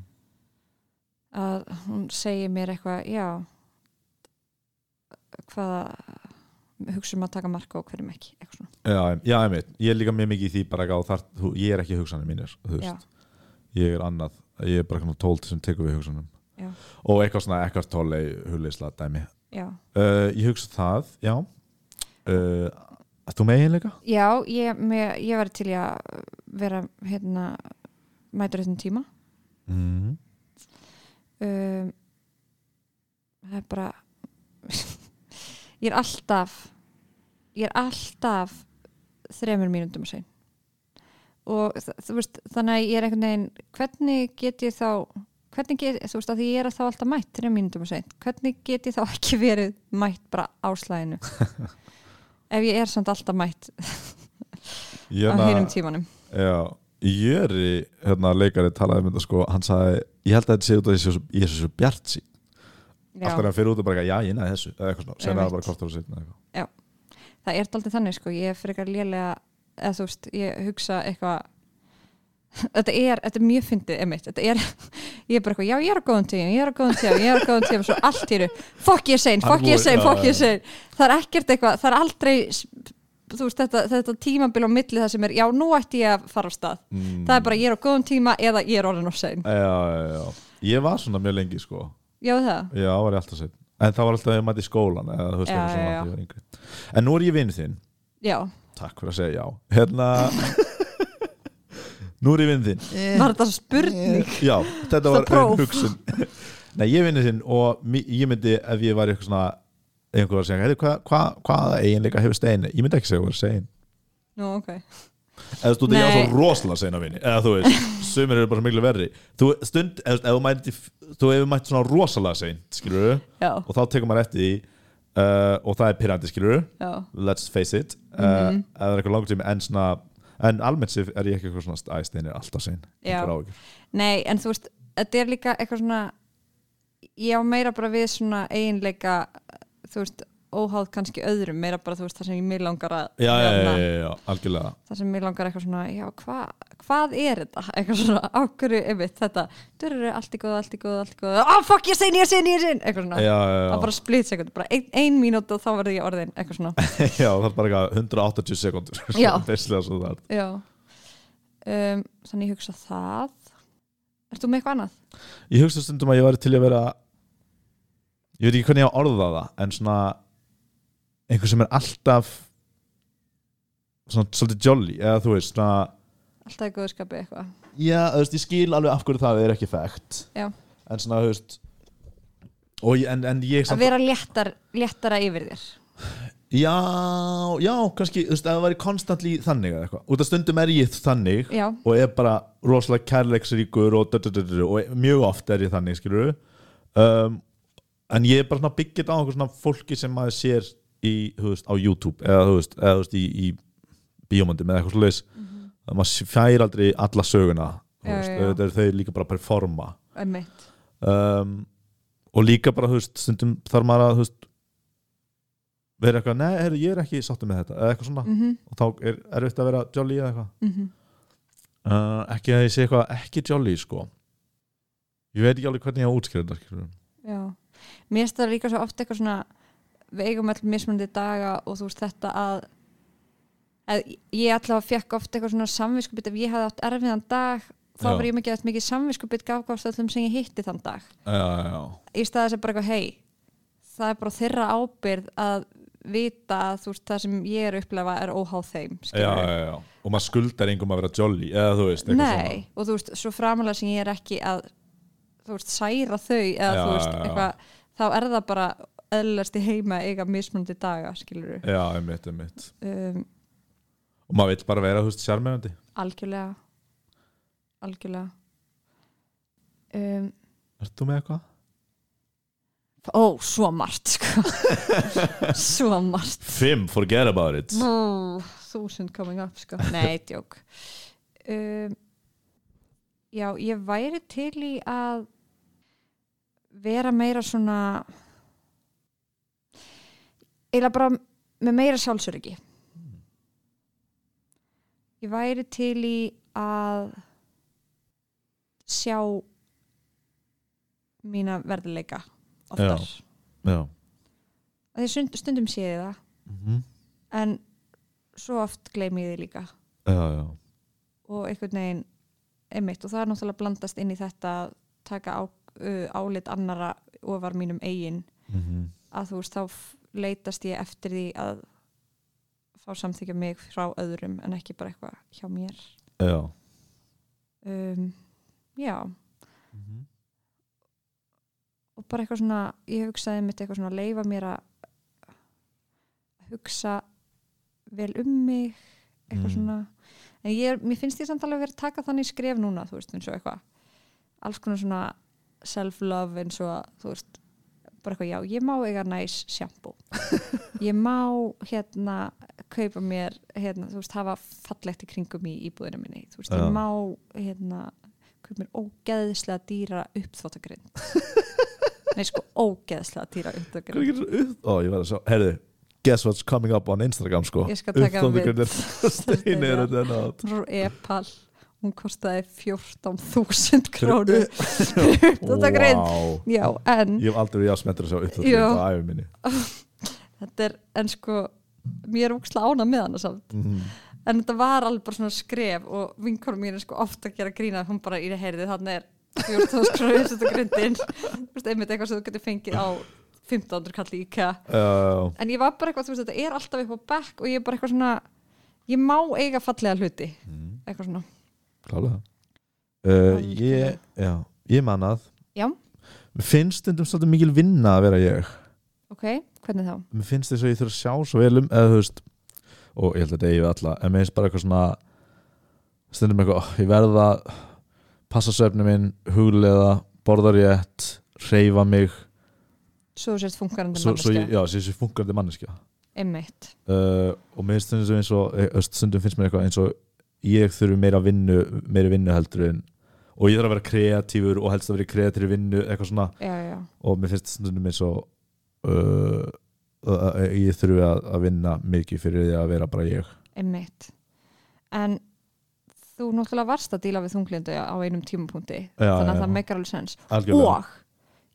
[SPEAKER 1] Að hún segir mér eitthvað, já, hvaða hugsa um að taka marka og hverjum ekki, eitthvað svona.
[SPEAKER 2] Já, já einmitt, ég er líka mjög mikið í því bara að þar, þú, ég er ekki hugsanir mínir þú
[SPEAKER 1] Já,
[SPEAKER 2] veist, ég er annað ég er bara kannar tólt sem tekur við hugsanum
[SPEAKER 1] Já.
[SPEAKER 2] og eitthvað svona ekkert tóli hulisla dæmi
[SPEAKER 1] já.
[SPEAKER 2] uh, ég hugsa það, já uh, að þú megin leika?
[SPEAKER 1] Já, ég, mér, ég var til í að vera hérna mætur þetta tíma
[SPEAKER 2] Mm.
[SPEAKER 1] um, það er bara ég er alltaf ég er alltaf þremur mínúndum að segja og þ- þú veist, þannig að ég er einhvern veginn hvernig get ég þá hvernig get, þú veist að því ég er þá alltaf mætt þrjá mínútum og seint, hvernig get ég þá ekki verið mætt bara áslæðinu ef ég er samt alltaf mætt á hinum tímanum
[SPEAKER 2] hérna- Já, Jöri hérna, leikari talaði um þetta sko hann sagði, ég held að þetta sé út að ég sé svo, ég sé svo bjart sín alltaf
[SPEAKER 1] Já,
[SPEAKER 2] hann fyrir út og bara, eitthvað, já, ég næði þessu eða eitthvað svona, segna
[SPEAKER 1] Einmitt.
[SPEAKER 2] það bara kortur og seinna eitthvað.
[SPEAKER 1] það er daldið þannig sko, ég er frekar lélega eða þú veist, ég hugsa eitthvað þetta er, þetta er mjög fyndið emitt, þetta er, ég er bara eitthvað já, ég er á góðum tíum, ég er á góðum tíum, ég er á góðum tíum svo allt í eru, fokk ég er sein,
[SPEAKER 2] Hann
[SPEAKER 1] fokk ég er
[SPEAKER 2] voru-
[SPEAKER 1] sein,
[SPEAKER 2] já,
[SPEAKER 1] fokk ég er
[SPEAKER 2] já.
[SPEAKER 1] sein það er ekkert eitthvað, það er aldrei þú veist, þetta, þetta tímabil á milli það sem er, já, nú ætti ég að fara á stað
[SPEAKER 2] Mm.
[SPEAKER 1] það er bara ég er á góðum tíma eða ég er orðin of sein
[SPEAKER 2] já, já, já, ég var svona mjög lengi sko
[SPEAKER 1] já það,
[SPEAKER 2] já, var ég alltaf sein en það var alltaf að ég mæti í skólan eða, þú veist,
[SPEAKER 1] Já,
[SPEAKER 2] eitthvað
[SPEAKER 1] já,
[SPEAKER 2] svona,
[SPEAKER 1] já.
[SPEAKER 2] þegar ég var yngri. en nú er ég vinn þinn
[SPEAKER 1] já,
[SPEAKER 2] takk fyrir að segja já hérna nú er ég vinn þinn
[SPEAKER 1] var þetta spurning
[SPEAKER 2] Já, þetta
[SPEAKER 1] Það
[SPEAKER 2] var
[SPEAKER 1] próf.
[SPEAKER 2] ein hugsun Nei, ég vinni þinn og mi- ég myndi ef ég var í eitthvað svona einhver var að segja, "Heyrðu, hvað hva, hvaða eiginleika hefur stein ég myndi ekki segja hvað er stein
[SPEAKER 1] nú ok,
[SPEAKER 2] eða þú veist, ég var
[SPEAKER 1] Nei.
[SPEAKER 2] svo rosalega stein á vinni eða þú veist, sumir eru bara svo miklu verri þú stund, eða þú veist, ef þú mætti þú hefur mætt svona rosalega sein, skilur
[SPEAKER 1] já,
[SPEAKER 2] og þá tekur maður eftir því uh, og það er pirandi, skilur
[SPEAKER 1] já
[SPEAKER 2] let's face it uh,
[SPEAKER 1] Mhm.
[SPEAKER 2] ef það er eitthvað langt tími en svona en almennt sér er ég ekki eitthvað svona "Æ, stein er alltaf sein
[SPEAKER 1] Já.
[SPEAKER 2] Einhver á ekki.
[SPEAKER 1] nei, en þú veist, þetta er líka eitthvað svona ég á meira bara við svona eiginleika þú veist, óháð kannski öðrum meira bara þú veist það sem ég mig langar að
[SPEAKER 2] já, já, já,
[SPEAKER 1] hérna,
[SPEAKER 2] já, já, algjörlega
[SPEAKER 1] það sem mig langar eitthvað svona, já, hva, hvað er þetta eitthvað svona, á hverju, einmitt þetta, þú eru allt í góð, allt í góð, allt í góð ah, fuck, ég sein, ég sein, ég sein, eitthvað svona
[SPEAKER 2] já, já, já.
[SPEAKER 1] það er bara split sekund, bara ein, ein mínút og þá verður ég orðin eitthvað svona
[SPEAKER 2] já, það er bara eitthvað 180 sekundur
[SPEAKER 1] Já.
[SPEAKER 2] Veistlega svo það er.
[SPEAKER 1] Já um, Þannig ég hugsa það Ert þú með eitthvað annað?
[SPEAKER 2] Ég hugsa stundum að ég væri til í að vera Ég veit ekki hvernig ég á orða það En svona Einhver sem er alltaf Svona svolítið jolly Eða þú veist svona
[SPEAKER 1] Alltaf í góðskapi eitthvað
[SPEAKER 2] Já, þú veist, ég skil alveg af hverju það er ekki fægt
[SPEAKER 1] Já.
[SPEAKER 2] En svona, þú veist Og, ég- en, en ég
[SPEAKER 1] Að
[SPEAKER 2] samt,
[SPEAKER 1] vera léttar, léttara yfir þér
[SPEAKER 2] já, já, kannski, þú veist, ef það væri konstantli þannig eða eitthvað, út af stundum er ég þannig
[SPEAKER 1] Já,
[SPEAKER 2] og er bara rosalega kærleiksríkur og, dö, dö, dö, dö, dö, og mjög oft er ég þannig skilur um, en ég er bara svona byggjit á einhver svona fólki sem maður sér í, þú veist, á YouTube eða þú veist, eða, þú veist í, í bíómyndum eða eitthvað svoleiðis mm -hmm. maður fær aldrei alla söguna þú
[SPEAKER 1] Já,
[SPEAKER 2] veist,
[SPEAKER 1] já, já.
[SPEAKER 2] auðvitað eru þau líka bara að performa
[SPEAKER 1] einmitt
[SPEAKER 2] um, og líka bara, þú veist, stundum þarf maður að, þú veist vera eitthvað, nei, heru, ég er ekki sáttu með þetta eða eitthvað svona,
[SPEAKER 1] mm -hmm,
[SPEAKER 2] og þá er erfitt að vera jolly eða eitthvað
[SPEAKER 1] mhm.
[SPEAKER 2] Uh, ekki að ég sé eitthvað ekki jolly sko ég veit ekki alveg hvernig ég á útskriða þetta skilurðu.
[SPEAKER 1] Já Mér finnst það líka svo oft eitthvað svona við eigum all mismunandi daga og þú veist þetta að, að ég allavega fekk oft eitthvað svona samviskubit ef ég hafði átt erfiðan dag þá
[SPEAKER 2] Já.
[SPEAKER 1] var ég mikið eftir mikið samviskubit gafkvæmst öllum sem ég hitti þann dag
[SPEAKER 2] já, já, já,
[SPEAKER 1] í staðis að bara eitthvað hei það er bara þeirra ábyrð að vita að þú veist það sem ég er að upplefa er óháð þeim
[SPEAKER 2] já,
[SPEAKER 1] skilurðu.
[SPEAKER 2] já, já. og maður skuldar engum að vera jolly eða þú veist, eitthvað
[SPEAKER 1] nei, og þú veist svo framalega sem ég er ekki að þú veist særa þau eða
[SPEAKER 2] Já,
[SPEAKER 1] þú veist
[SPEAKER 2] já, já.
[SPEAKER 1] eitthvað þá er það bara eðlast í heima að eiga mismunandi daga skilur
[SPEAKER 2] svona já, einmitt, einmitt
[SPEAKER 1] um,
[SPEAKER 2] og maður vill bara vera, þú veist, sjarmerandi
[SPEAKER 1] algjörlega algjörlega um,
[SPEAKER 2] ert þú með eitthvað?
[SPEAKER 1] ó, svo margt sko svo margt
[SPEAKER 2] Fimm, forget about it
[SPEAKER 1] Vó, Þúsund coming up sko Nei, djók um, Já, ég væri til í að vera meira svona eila bara með meira sjálfsöryggi Ég væri til í að sjá mína verðileika oftar
[SPEAKER 2] Já. já,
[SPEAKER 1] Af Því stund- stundum sé ég það
[SPEAKER 2] Mhm.
[SPEAKER 1] en svo oft gleymi ég þið líka
[SPEAKER 2] já, já
[SPEAKER 1] og einhvern veginn einmitt og það er náttúrulega blandast inn í þetta að taka á, uh, álit annara ofar mínum eigin
[SPEAKER 2] Mhm.
[SPEAKER 1] að þú veist þá f- leitast ég eftir því að fá samþykja mig frá öðrum en ekki bara eitthvað hjá mér
[SPEAKER 2] já
[SPEAKER 1] um, já
[SPEAKER 2] Mhm.
[SPEAKER 1] og bara eitthvað svona, ég hugsaði mitt eitthvað svona leifa mér að hugsa vel um mig eitthvað
[SPEAKER 2] Mm.
[SPEAKER 1] svona en ég, er- mér finnst ég samt alveg verið að taka þannig skref núna, þú veist, eins og eitthvað alls konar svona self-love eins og að, þú veist bara eitthvað já, ég má eiga næs sjampú ég má hérna kaupa mér, hérna, þú veist, hafa fallegt í kringum í íbúðinu minni þú veist,
[SPEAKER 2] Já.
[SPEAKER 1] ég má, hérna kaupa mér ógeðslega dýra uppþvóttagrinn nei, sko, ógeðslega dýra
[SPEAKER 2] Hvað
[SPEAKER 1] uppþvóttagrinn
[SPEAKER 2] er ekki upp? Ó, ég verði að sjá, herðu Guess what's coming up on Instagram, sko
[SPEAKER 1] Ég skal taka
[SPEAKER 2] Uppþvottagrunnir.
[SPEAKER 1] við-
[SPEAKER 2] Steini er þetta enn átt
[SPEAKER 1] frá Epal hún kostaði 14.000 krónu
[SPEAKER 2] Fyrir
[SPEAKER 1] uppþvóttagrinn já, en
[SPEAKER 2] Ég hef aldrei verið jafnsmettur að sjá
[SPEAKER 1] Mm. Já.
[SPEAKER 2] uppþvottagrind á æfum minni
[SPEAKER 1] þetta er, en sko mér er óksla ána með hana samt
[SPEAKER 2] Mhm.
[SPEAKER 1] en þetta var alveg bara svona skref og vinkonum mín er sko ofta að gera grína hún bara í heyrði þannig er 14.000 krónu uppsetta grindin einmitt eitthvað sem þú getur fengið á 1500 kalli íka
[SPEAKER 2] Uh,
[SPEAKER 1] en ég var bara eitthvað, þú veist, þetta er alltaf upp á bekk og ég er bara eitthvað svona ég má eiga fallega hluti eitthvað svona
[SPEAKER 2] Klálega uh,
[SPEAKER 1] Algjörlega.
[SPEAKER 2] Ég, já, ég mannað
[SPEAKER 1] Já.
[SPEAKER 2] Mér finnst stundum svolítið mikil vinna að vera ég
[SPEAKER 1] ok, hvernig þá?
[SPEAKER 2] Mér finnst þess að ég þurf að sjá svo vel um eða þú veist og ég held að þetta eigi við alla en mér finnst bara eitthvað svona stundum eitthvað, "Oh, ég verð að passa svefni minn, huglega borða rétt, reyfa mig
[SPEAKER 1] svo þú sért funkarandi
[SPEAKER 2] svo, svo,
[SPEAKER 1] manneskja
[SPEAKER 2] ég- já, svo ég sé fungandi manneskja
[SPEAKER 1] einmitt,
[SPEAKER 2] uh, og mér finnst stundum eins og eh, stundum finnst mér eitthvað eins og ég þurfi meira vinnu, meira vinnu heldur en og ég þarf að vera kreatífur og helst að vera í kreatífur vinnu eitthvað svona
[SPEAKER 1] já, já, já.
[SPEAKER 2] og mér finnst stundum eins og uh, uh, uh, ég þurfi að, að vinna mikið fyrir því að vera bara ég
[SPEAKER 1] einmitt en þú náttúrulega varst að díla við þunglindu á einum tímapunkti þannig
[SPEAKER 2] Já, já,
[SPEAKER 1] að
[SPEAKER 2] já.
[SPEAKER 1] það meikar alveg sens
[SPEAKER 2] algjörlega
[SPEAKER 1] og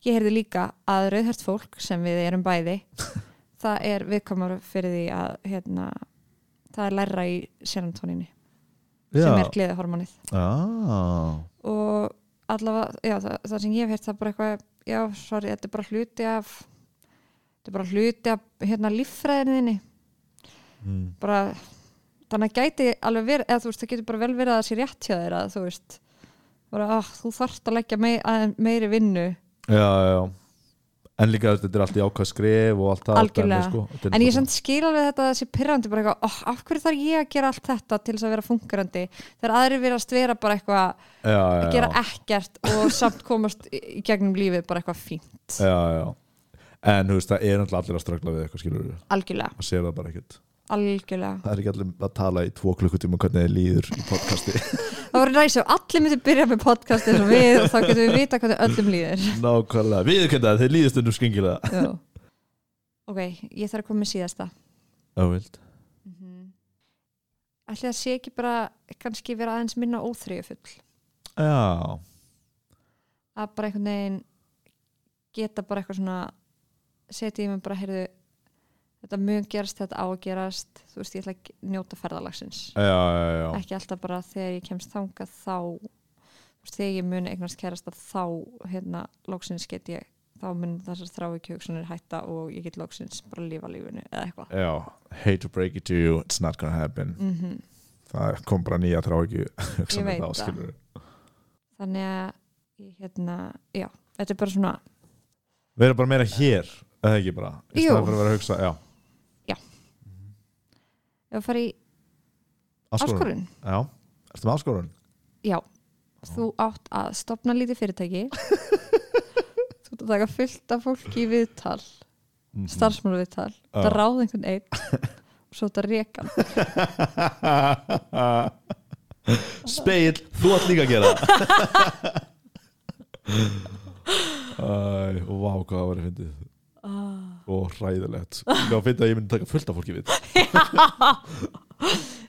[SPEAKER 1] ég heyrði líka að rauðhært fólk sem við erum bæði það er viðkomar fyrir því að hérna, það er læra í serotoninni sem er gleðihormonið
[SPEAKER 2] ah,
[SPEAKER 1] og allavega, já, það, það sem ég hef heyrt það er bara eitthvað, já, sorry, þetta er bara hluti af þetta er bara hluti af hérna líffræðinni
[SPEAKER 2] mm,
[SPEAKER 1] bara þannig að gæti alveg verið, eða þú veist, það getur bara vel verið að það sé rétt hjá þér að þú veist bara, ah, þú þarft að leggja mei, að, meiri vinnu
[SPEAKER 2] já, já, já en líka þetta er allt í ákvæð skref og allt það
[SPEAKER 1] Algjörlega.
[SPEAKER 2] dæmi, sko. Þetta er
[SPEAKER 1] en ég
[SPEAKER 2] bara-
[SPEAKER 1] samt skil alveg þetta að þessi pyrrandi bara eitthvað, oh, af hverju þarf ég að gera allt þetta til þess að vera fungerandi þegar aðrir verðast vera bara eitthvað
[SPEAKER 2] já, já,
[SPEAKER 1] að
[SPEAKER 2] já.
[SPEAKER 1] gera ekkert og samt komast í í gegnum lífið bara eitthvað fínt
[SPEAKER 2] já, já. en þú veist það er náttúrulega allir að ströggla við eitthvað skilur
[SPEAKER 1] algjörlega,
[SPEAKER 2] að segja það bara ekkert
[SPEAKER 1] algjörlega
[SPEAKER 2] það er ekki allir að tala í tvo klukkutíma um hvernig þið líður í podcasti
[SPEAKER 1] það voru næs og allir myndir byrja með podcast eins og við og þá getum við vita hvernig öllum líður
[SPEAKER 2] nákvæmlega, viðurkenda þeir líður stundum skengilega
[SPEAKER 1] Já. ok, ég þarf að koma með síðasta
[SPEAKER 2] ávild
[SPEAKER 1] Mhm. Ætli það sé ekki bara kannski vera aðeins minna óþreyjufull
[SPEAKER 2] já,
[SPEAKER 1] að bara einhvern veginn geta bara eitthvað svona setja í mig bara, heyrðu þetta mun gerast, þetta á að gerast þú veist, ég ætla að njóta ferðalagsins
[SPEAKER 2] já, já, já.
[SPEAKER 1] ekki alltaf bara þegar ég kemst þangað þá þú veist, þegar ég mun eignast kærasta þá, hérna, loksins get ég þá mun þessar þrávíkjöksunir hætta og ég get loksins bara lífa lífinu eða eitthvað
[SPEAKER 2] já. hate to break it to you, it's not gonna happen
[SPEAKER 1] mm
[SPEAKER 2] það kom bara nýja tráki
[SPEAKER 1] veit það. þannig að ég, hérna, já, þetta er bara svona
[SPEAKER 2] vera bara meira hér, eða ekki bara í
[SPEAKER 1] Jú.
[SPEAKER 2] staðan fyrir að vera að hugsa, já,
[SPEAKER 1] ef að fara í
[SPEAKER 2] áskorun
[SPEAKER 1] áskorun
[SPEAKER 2] já, ertu með áskorun?
[SPEAKER 1] Já, þú átt að stopna lítið fyrirtæki Þú átt að taka fullt af fólki í viðtal
[SPEAKER 2] Mhm.
[SPEAKER 1] starfsmálu viðtal
[SPEAKER 2] Já.
[SPEAKER 1] Það ráði einhvern einn og svo þetta reka hann.
[SPEAKER 2] Speil, þú ætti líka að gera það Æ, og vá hvað það var að fyndið
[SPEAKER 1] Ah.
[SPEAKER 2] og hræðilegt ég var að finna að ég myndi taka fullt af fólki við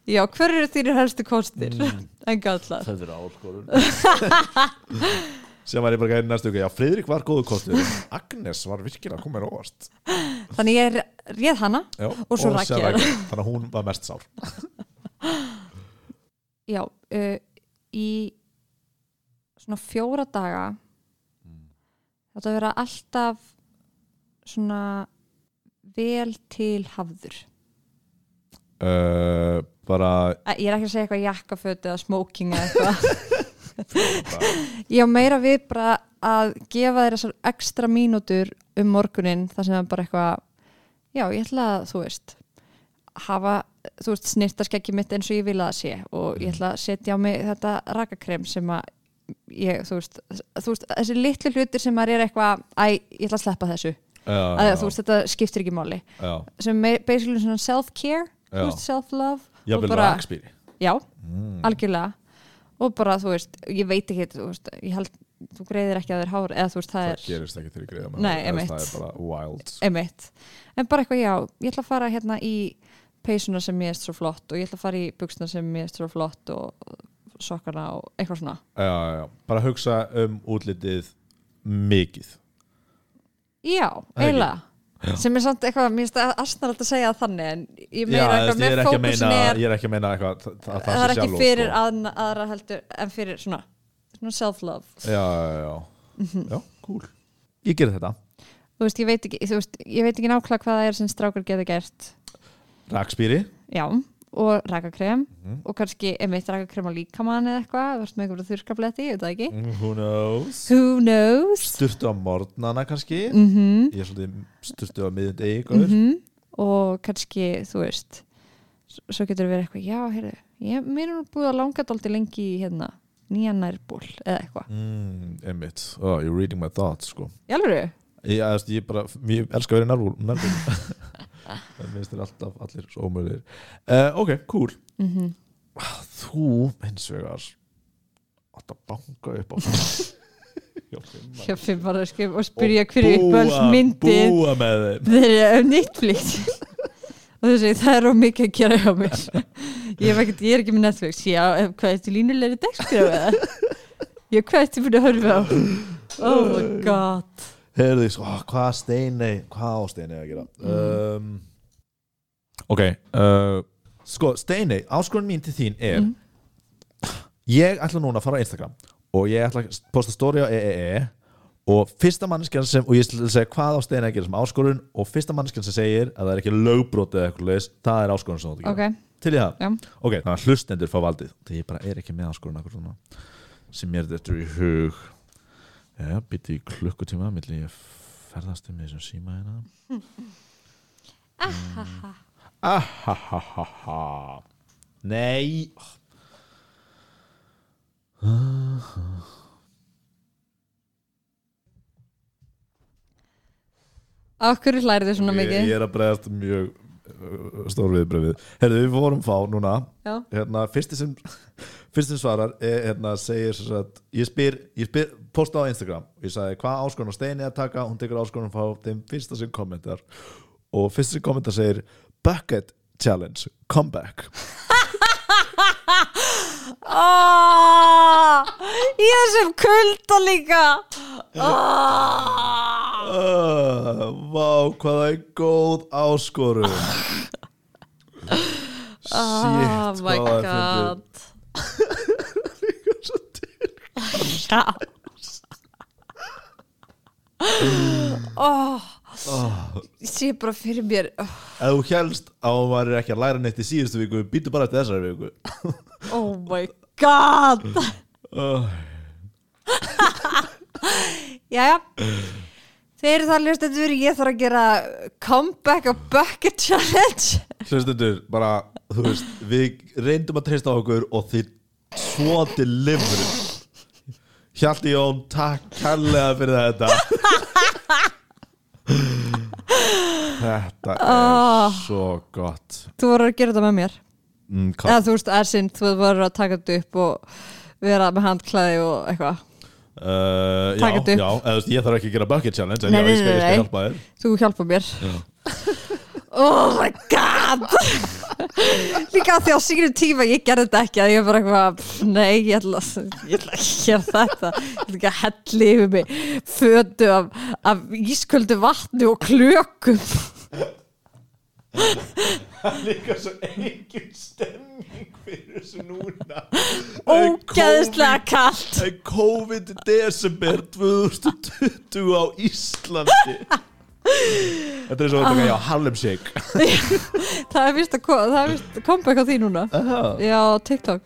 [SPEAKER 1] Já, hver eru þínir helstu kostir? en gallar
[SPEAKER 2] þetta er áskorun sem var ég bara gæði næstu ykkur já, Friðrik var góðu kostur Agnes var virkilega að koma mér óvast
[SPEAKER 1] Þannig ég er réð hana
[SPEAKER 2] já,
[SPEAKER 1] Og svo Raggi.
[SPEAKER 2] síðan Raggi. þannig að hún var mest sár
[SPEAKER 1] Já, uh, í svona fjóra daga þetta að vera alltaf svona vel til hafður
[SPEAKER 2] uh, bara
[SPEAKER 1] Æ, Ég er ekki að segja eitthvað jakkaföt eða smoking eða eitthvað Ég á meira við bara að gefa þér þessar ekstra mínútur um morgunin þar sem það er bara eitthvað já, ég ætla að, þú veist hafa, þú veist, snirtaskeggi mitt eins og ég vil að það sé og ég ætla að setja á mig þetta rakakrem sem að ég, þú, veist, þú veist, þessi litlu hlutir sem maður er eitthvað, æ, ég ætla að sleppa þessu að, þú veist, þetta skiptir ekki máli
[SPEAKER 2] já,
[SPEAKER 1] sem er basically svona self-care
[SPEAKER 2] Já.
[SPEAKER 1] þú veist, self-love
[SPEAKER 2] já,
[SPEAKER 1] og
[SPEAKER 2] vel
[SPEAKER 1] bara-
[SPEAKER 2] rakspýri
[SPEAKER 1] já,
[SPEAKER 2] Mm.
[SPEAKER 1] algjörlega og bara, þú veist, ég veit ekki þú veist, ég held, þú greiðir ekki að þér hár eða þú veist, það,
[SPEAKER 2] það sko.
[SPEAKER 1] er
[SPEAKER 2] gerist ekki til að greiða með
[SPEAKER 1] Nei,
[SPEAKER 2] það,
[SPEAKER 1] einmitt.
[SPEAKER 2] það er bara wild
[SPEAKER 1] einmitt, en bara eitthvað já ég ætla að fara hérna í peysuna sem ég er svo flott og ég ætla að fara í buksuna sem ég er svo flott og sokkana og eitthvað svona
[SPEAKER 2] já, já, já. bara hugsa um útlitið mikið
[SPEAKER 1] já,
[SPEAKER 2] ekki?
[SPEAKER 1] eiginlega sem er samt eitthvað, mér finnst að astnar alltaf að segja það þannig en ég meira
[SPEAKER 2] já,
[SPEAKER 1] eitthvað
[SPEAKER 2] þú
[SPEAKER 1] með
[SPEAKER 2] veist, ég, er ekki að
[SPEAKER 1] fókusin
[SPEAKER 2] meina,
[SPEAKER 1] er
[SPEAKER 2] ég er ekki að meina eitthvað að það,
[SPEAKER 1] það er
[SPEAKER 2] sé
[SPEAKER 1] ekki
[SPEAKER 2] sjálf
[SPEAKER 1] fyrir
[SPEAKER 2] sko.
[SPEAKER 1] að, aðra heldur en fyrir svona, svona self-love
[SPEAKER 2] já, já, já,
[SPEAKER 1] Mhm.
[SPEAKER 2] já, cool ég gerði þetta,
[SPEAKER 1] þú veist, ég veit ekki, þú veist, ég veit ekki nákvæmlega hvað það er sem strákar geta gert
[SPEAKER 2] rakspýri
[SPEAKER 1] já, og rakakrem
[SPEAKER 2] Mhm.
[SPEAKER 1] og kannski einmitt rakakrem á líkamann eða eitthvað, þú veist með eitthvað þurrkabletti, ég veit það ekki
[SPEAKER 2] who knows
[SPEAKER 1] who knows
[SPEAKER 2] sturtu á morgnana kannski
[SPEAKER 1] Mhm.
[SPEAKER 2] ég er svolítið sturtu á miðundegi mm
[SPEAKER 1] og kannski, þú veist s- svo getur verið eitthvað, já, heyrðu ég, mér er nú búið að langa dálítið lengi í hérna, nýja nærból eða eitthvað,
[SPEAKER 2] mm, einmitt, oh, you're reading my thoughts sko.
[SPEAKER 1] í alveg
[SPEAKER 2] ég, ég, veist, ég, bara, ég elska að vera nærvúl nærvúl en minnst er alltaf allir svo ómöðir uh, ok, cool Ah, þú hins vegar átt að banka upp á Já, fimm mann.
[SPEAKER 1] hjá fimm varðarskjöf og spyrja hverju
[SPEAKER 2] Búa-
[SPEAKER 1] uppáhaldsmyndin
[SPEAKER 2] búa með þeim
[SPEAKER 1] þeir eru um Netflix og þú segir það er of mikið að gera hjá mér ég, hef ekkert, ég er ekki með Netflix já, eh, hvað ertu línulegri dagskrif eða? já, hvað ertu búin að horfa á oh my god
[SPEAKER 2] Heyrðu, sko, ah, hvað steinei hvað á steinei að gera
[SPEAKER 1] Mm.
[SPEAKER 2] um, ok uh, sko, steinei, áskorun mín til þín
[SPEAKER 1] Mm.
[SPEAKER 2] er ég ætla núna að fara á Instagram og ég ætla að posta story á EEE og fyrsta manneskjan sem og ég ætla að segja hvað á steinei að gera sem áskorun og fyrsta manneskjan sem segir að það er ekki lögbrot eða eitthvað leis, það er áskorun sem þú átt að gera
[SPEAKER 1] ok,
[SPEAKER 2] til í það
[SPEAKER 1] Já.
[SPEAKER 2] ok, þannig að hlustendur fá valdið því ég bara er ekki með áskorun akkur svona sem mér þetta í hug já, býtti í klukkutíma milli ég ferðast um þessum síma hérna Mm. ahahaha nei Oh.
[SPEAKER 1] okkur hlærið þið svona
[SPEAKER 2] ég,
[SPEAKER 1] mikið
[SPEAKER 2] ég er að bregðast mjög uh, stór viðbröfið herðu, við vorum fá núna
[SPEAKER 1] Já.
[SPEAKER 2] hérna, fyrsti sem fyrsti sem svarar er, hérna, segir sem sagt, ég spyr, ég spyr, posta á Instagram ég sagði hvað áskonum steini að taka hún tekur áskonum frá þeim fyrsta sem kommentar og fyrsta sem kommentar segir bucket challenge, comeback
[SPEAKER 1] Ah, ég er sem kulda líka Ah.
[SPEAKER 2] uh, vá, hvað það er góð áskorun shit,
[SPEAKER 1] oh
[SPEAKER 2] hvað
[SPEAKER 1] my
[SPEAKER 2] það er fyndið.
[SPEAKER 1] god Já oh, Ég sé bara fyrir mér
[SPEAKER 2] ef þú helst að hún var ekki að læra neitt í síðustu viku, býtu bara eftir þessari viku
[SPEAKER 1] Oh my god Jæja Þeir eru það ljóstendur Ég þarf að gera comeback og bucket challenge
[SPEAKER 2] hlustundur, bara, þú veist við reyndum að treysta á okkur og þið svo delivery Hjalti Jón, takk kærlega fyrir þetta Þetta
[SPEAKER 1] Ah.
[SPEAKER 2] er svo gott
[SPEAKER 1] Þú voru að gera þetta með mér
[SPEAKER 2] mm, hvað-
[SPEAKER 1] Eða þú veist, ersinn, þú voru að taka þetta upp og vera með handklæði og eitthvað
[SPEAKER 2] uh, Já,
[SPEAKER 1] taka þetta upp.
[SPEAKER 2] já, eða, þú veist, ég þarf ekki að gera bucket challenge en
[SPEAKER 1] Eh, Nei,
[SPEAKER 2] já, ég skal,
[SPEAKER 1] nei, nei,
[SPEAKER 2] ég skal
[SPEAKER 1] nei.
[SPEAKER 2] hjálpa þér
[SPEAKER 1] Þú hjálpa mér Oh my god Líka af því á sínum tíma ég gerði þetta ekki að ég bara eitthvað pff, Nei, ég ætla, ég ætla ekki að gera þetta Ég ætla ekki að helli yfir mig Fötu af, af ísköldu vatni og klökum
[SPEAKER 2] líka svo engin stemning fyrir þessu núna
[SPEAKER 1] Ógeðislega kalt
[SPEAKER 2] Það er COVID í desember 2020 á Íslandi Þetta er svo að taka á Harlem Shake
[SPEAKER 1] Það er vist að ko- það er víst comeback á því núna Já, TikTok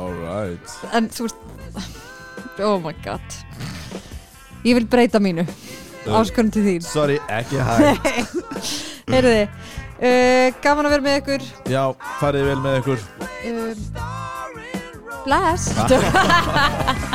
[SPEAKER 2] Alright
[SPEAKER 1] En þú veist Oh my god Ég vil breyta mínu Áskonum til þín
[SPEAKER 2] Sorry, ekki hægt
[SPEAKER 1] Heyrði, uh, gaman að vera með ykkur Eh,
[SPEAKER 2] Já, farið vel með ykkur
[SPEAKER 1] um, Bless